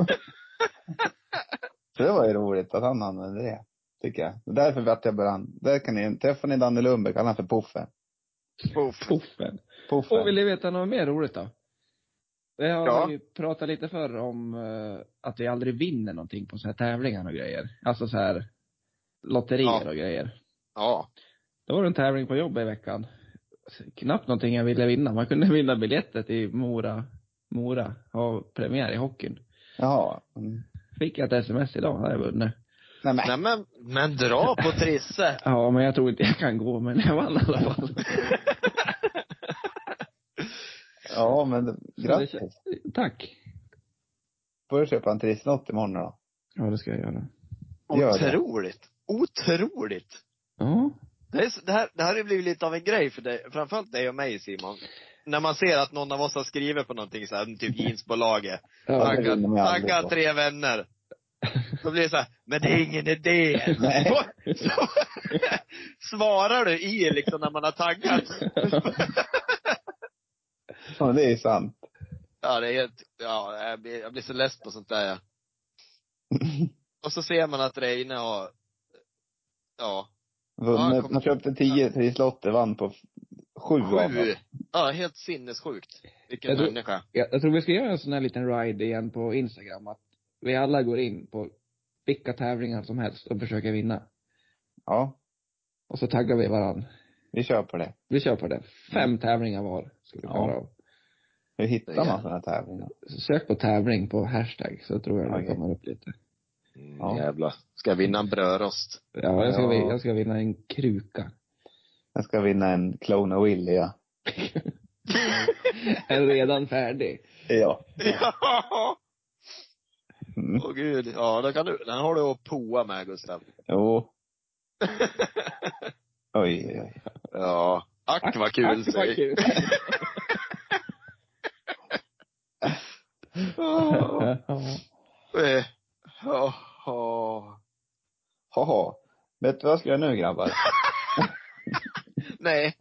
[SPEAKER 3] Så det var ju roligt att han använde det. tycker jag. Det är därför vart jag började, där kan ni, träffar ni Danne Lundberg, kalla han för Puffen.
[SPEAKER 2] Poff.
[SPEAKER 1] Poffen.
[SPEAKER 3] Puffen.
[SPEAKER 1] Och vill ni veta något mer roligt då? Det har
[SPEAKER 2] Ja.
[SPEAKER 1] vi pratat lite förr om eh, att vi aldrig vinner någonting på så här tävlingar och grejer. Alltså så här lotterier
[SPEAKER 2] Ja.
[SPEAKER 1] och grejer.
[SPEAKER 2] Ja.
[SPEAKER 1] Då var det en tävling på jobbet i veckan. Knappt någonting jag ville vinna. Man kunde vinna biljetter till Mora, Mora, ha premiär i hockeyn.
[SPEAKER 3] Jaha. Mm.
[SPEAKER 1] Fick jag ett sms idag, hade jag vunnit.
[SPEAKER 3] Nej, men.
[SPEAKER 2] Nej men, men dra på Trisse.
[SPEAKER 1] Ja, men jag tror inte jag kan gå, men jag vann i alla fall.
[SPEAKER 3] Ja, men
[SPEAKER 1] Så
[SPEAKER 3] grattis.
[SPEAKER 1] det Tack.
[SPEAKER 3] Får du köpa en Trisslott imorgon då?
[SPEAKER 1] Ja, det ska jag göra.
[SPEAKER 3] Gör det.
[SPEAKER 2] Otroligt. Otroligt.
[SPEAKER 1] Ja.
[SPEAKER 2] Det, är, så- det, här, det här har ju blivit lite av en grej för dig, framförallt dig och mig Simon. När man ser att någon av oss har skrivit på någonting så här, typ jeansbolaget.
[SPEAKER 1] ja.
[SPEAKER 3] Tack. det vinner man ju
[SPEAKER 2] Tagga,
[SPEAKER 3] aldrig
[SPEAKER 2] tagga
[SPEAKER 3] på.
[SPEAKER 2] tre vänner. Då blir det så här, men det är ingen idé.
[SPEAKER 3] Nej.
[SPEAKER 2] Så, så, svarar du i liksom när man har taggat?
[SPEAKER 3] Ja, det är ju sant.
[SPEAKER 2] Ja, det är helt, ja, jag blir, jag blir så less på sånt där ja. Och så ser man att Reine har, ja, Ja, jag
[SPEAKER 3] Vunnit.
[SPEAKER 2] kommer-
[SPEAKER 3] Man köpte tio Trisslotter, vann på sju av dem.
[SPEAKER 2] sju. Ja, helt sinnessjukt. Vilken
[SPEAKER 1] Jag tror-
[SPEAKER 2] människa.
[SPEAKER 1] Jag, jag tror vi ska göra en sån här liten ride igen på Instagram, att vi alla går in på vilka tävlingar som helst och försöker vinna.
[SPEAKER 3] Ja,
[SPEAKER 1] Och så taggar vi varann.
[SPEAKER 3] vi kör på det.
[SPEAKER 1] Vi kör på det. Fem tävlingar var ska vi
[SPEAKER 3] Ja.
[SPEAKER 1] klara av.
[SPEAKER 3] Hur hittar man
[SPEAKER 2] Ja.
[SPEAKER 3] sådana här tävlingar?
[SPEAKER 1] Så Sök på tävling på hashtag så tror jag det
[SPEAKER 3] Okej.
[SPEAKER 1] kommer upp lite.
[SPEAKER 3] Ja.
[SPEAKER 2] Jävlar. Ska jag vinna en brödrost?
[SPEAKER 1] Ja, jag ska,
[SPEAKER 3] Ja.
[SPEAKER 1] vi- jag ska vinna en kruka.
[SPEAKER 3] Jag ska vinna en Clone och Willy, ja.
[SPEAKER 1] En redan färdig.
[SPEAKER 3] Ja.
[SPEAKER 2] Ja!
[SPEAKER 3] Mm.
[SPEAKER 2] Åh gud. Ja, då kan du, den har du att poa med Gustav.
[SPEAKER 3] Jo. Oj, oj, oj.
[SPEAKER 2] Ja. Ack vad kul
[SPEAKER 1] Tack, vad
[SPEAKER 2] säger
[SPEAKER 1] kul.
[SPEAKER 2] Ja. Eh, Ja. ja.
[SPEAKER 3] Haha. Vet du vad jag ska göra nu grabbar?
[SPEAKER 2] Nej.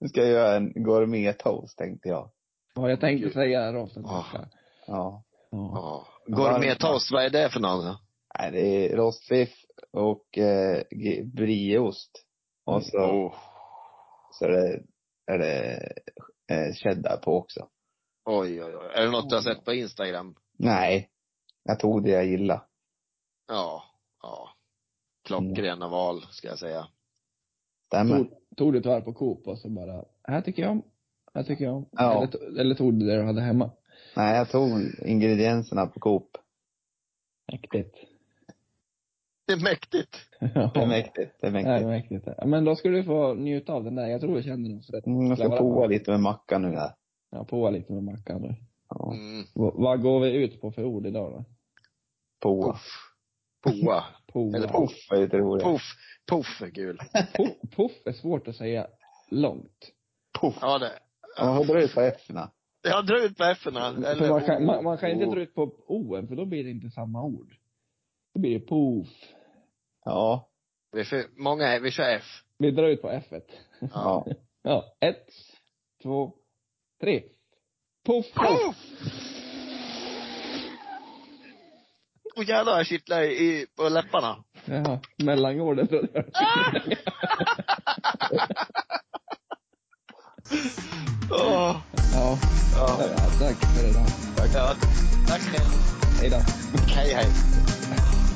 [SPEAKER 3] Nu ska jag göra en gourmet-toast tänkte jag.
[SPEAKER 1] Ja, jag tänkte säga rakt att
[SPEAKER 2] Ah.
[SPEAKER 1] jag ska.
[SPEAKER 3] Ja.
[SPEAKER 1] Ja.
[SPEAKER 2] Ja. Gourmettoast, vad är det för någon?
[SPEAKER 3] Nej, det är rostbiff och eh, ge- brieost. Och så,
[SPEAKER 2] Åh.
[SPEAKER 3] så är det, är det eh, cheddar på också.
[SPEAKER 2] Oj, oj, oj. Är det något du har sett på Instagram?
[SPEAKER 3] Nej. Jag tog det jag gillade.
[SPEAKER 2] Ja. Ja. Klockrena val, ska jag säga.
[SPEAKER 3] Stämmer.
[SPEAKER 1] Tog, tog du ett varv på Coop och så bara, här tycker jag om, här tycker jag om.
[SPEAKER 3] Ja.
[SPEAKER 1] Eller, to- eller tog du det du hade hemma?
[SPEAKER 3] Nej, jag tog ingredienserna på Coop.
[SPEAKER 1] Mäktigt.
[SPEAKER 2] Det är mäktigt.
[SPEAKER 1] Ja.
[SPEAKER 3] Det är mäktigt. Det är
[SPEAKER 1] Det är
[SPEAKER 3] mäktigt.
[SPEAKER 1] mäktigt. Ja, Men då skulle du få njuta av den där. Jag tror du känner den så rätt.
[SPEAKER 3] Mm, jag ska prova lite med mackan nu här.
[SPEAKER 1] Ja, på lite med Mackan nu.
[SPEAKER 3] Ja,
[SPEAKER 2] Mm.
[SPEAKER 1] V- vad går vi ut på för ord idag då?
[SPEAKER 3] poa.
[SPEAKER 2] Puff. Poa.
[SPEAKER 1] Poa.
[SPEAKER 2] Eller
[SPEAKER 3] Poff är lite roligt.
[SPEAKER 2] Puff. Puff är kul.
[SPEAKER 1] Puff, puff är svårt att säga långt.
[SPEAKER 3] Poff.
[SPEAKER 2] Ja, det.
[SPEAKER 3] Ja, hur drar du på F-erna?
[SPEAKER 2] Jag drar ut på F-erna.
[SPEAKER 1] För man, kan, man, man kan inte
[SPEAKER 2] oh.
[SPEAKER 1] dra ut på o för då blir det inte samma ord. Då blir det poff.
[SPEAKER 3] Ja.
[SPEAKER 2] Vi, får- många, är- vi kör F.
[SPEAKER 1] Vi drar ut på f -et.
[SPEAKER 3] Ja.
[SPEAKER 1] Ja, ett, två, tre. Puff, puff.
[SPEAKER 2] Puff! Åh jävlar, jag kittlar i, på läpparna.
[SPEAKER 1] Jaha, mellangården trodde jag.
[SPEAKER 3] Ah!
[SPEAKER 2] Åh.
[SPEAKER 1] Ja,
[SPEAKER 2] Ja.
[SPEAKER 1] ja, tack för idag.
[SPEAKER 2] Ja, tack.
[SPEAKER 1] Hej då.
[SPEAKER 2] Hej, hej.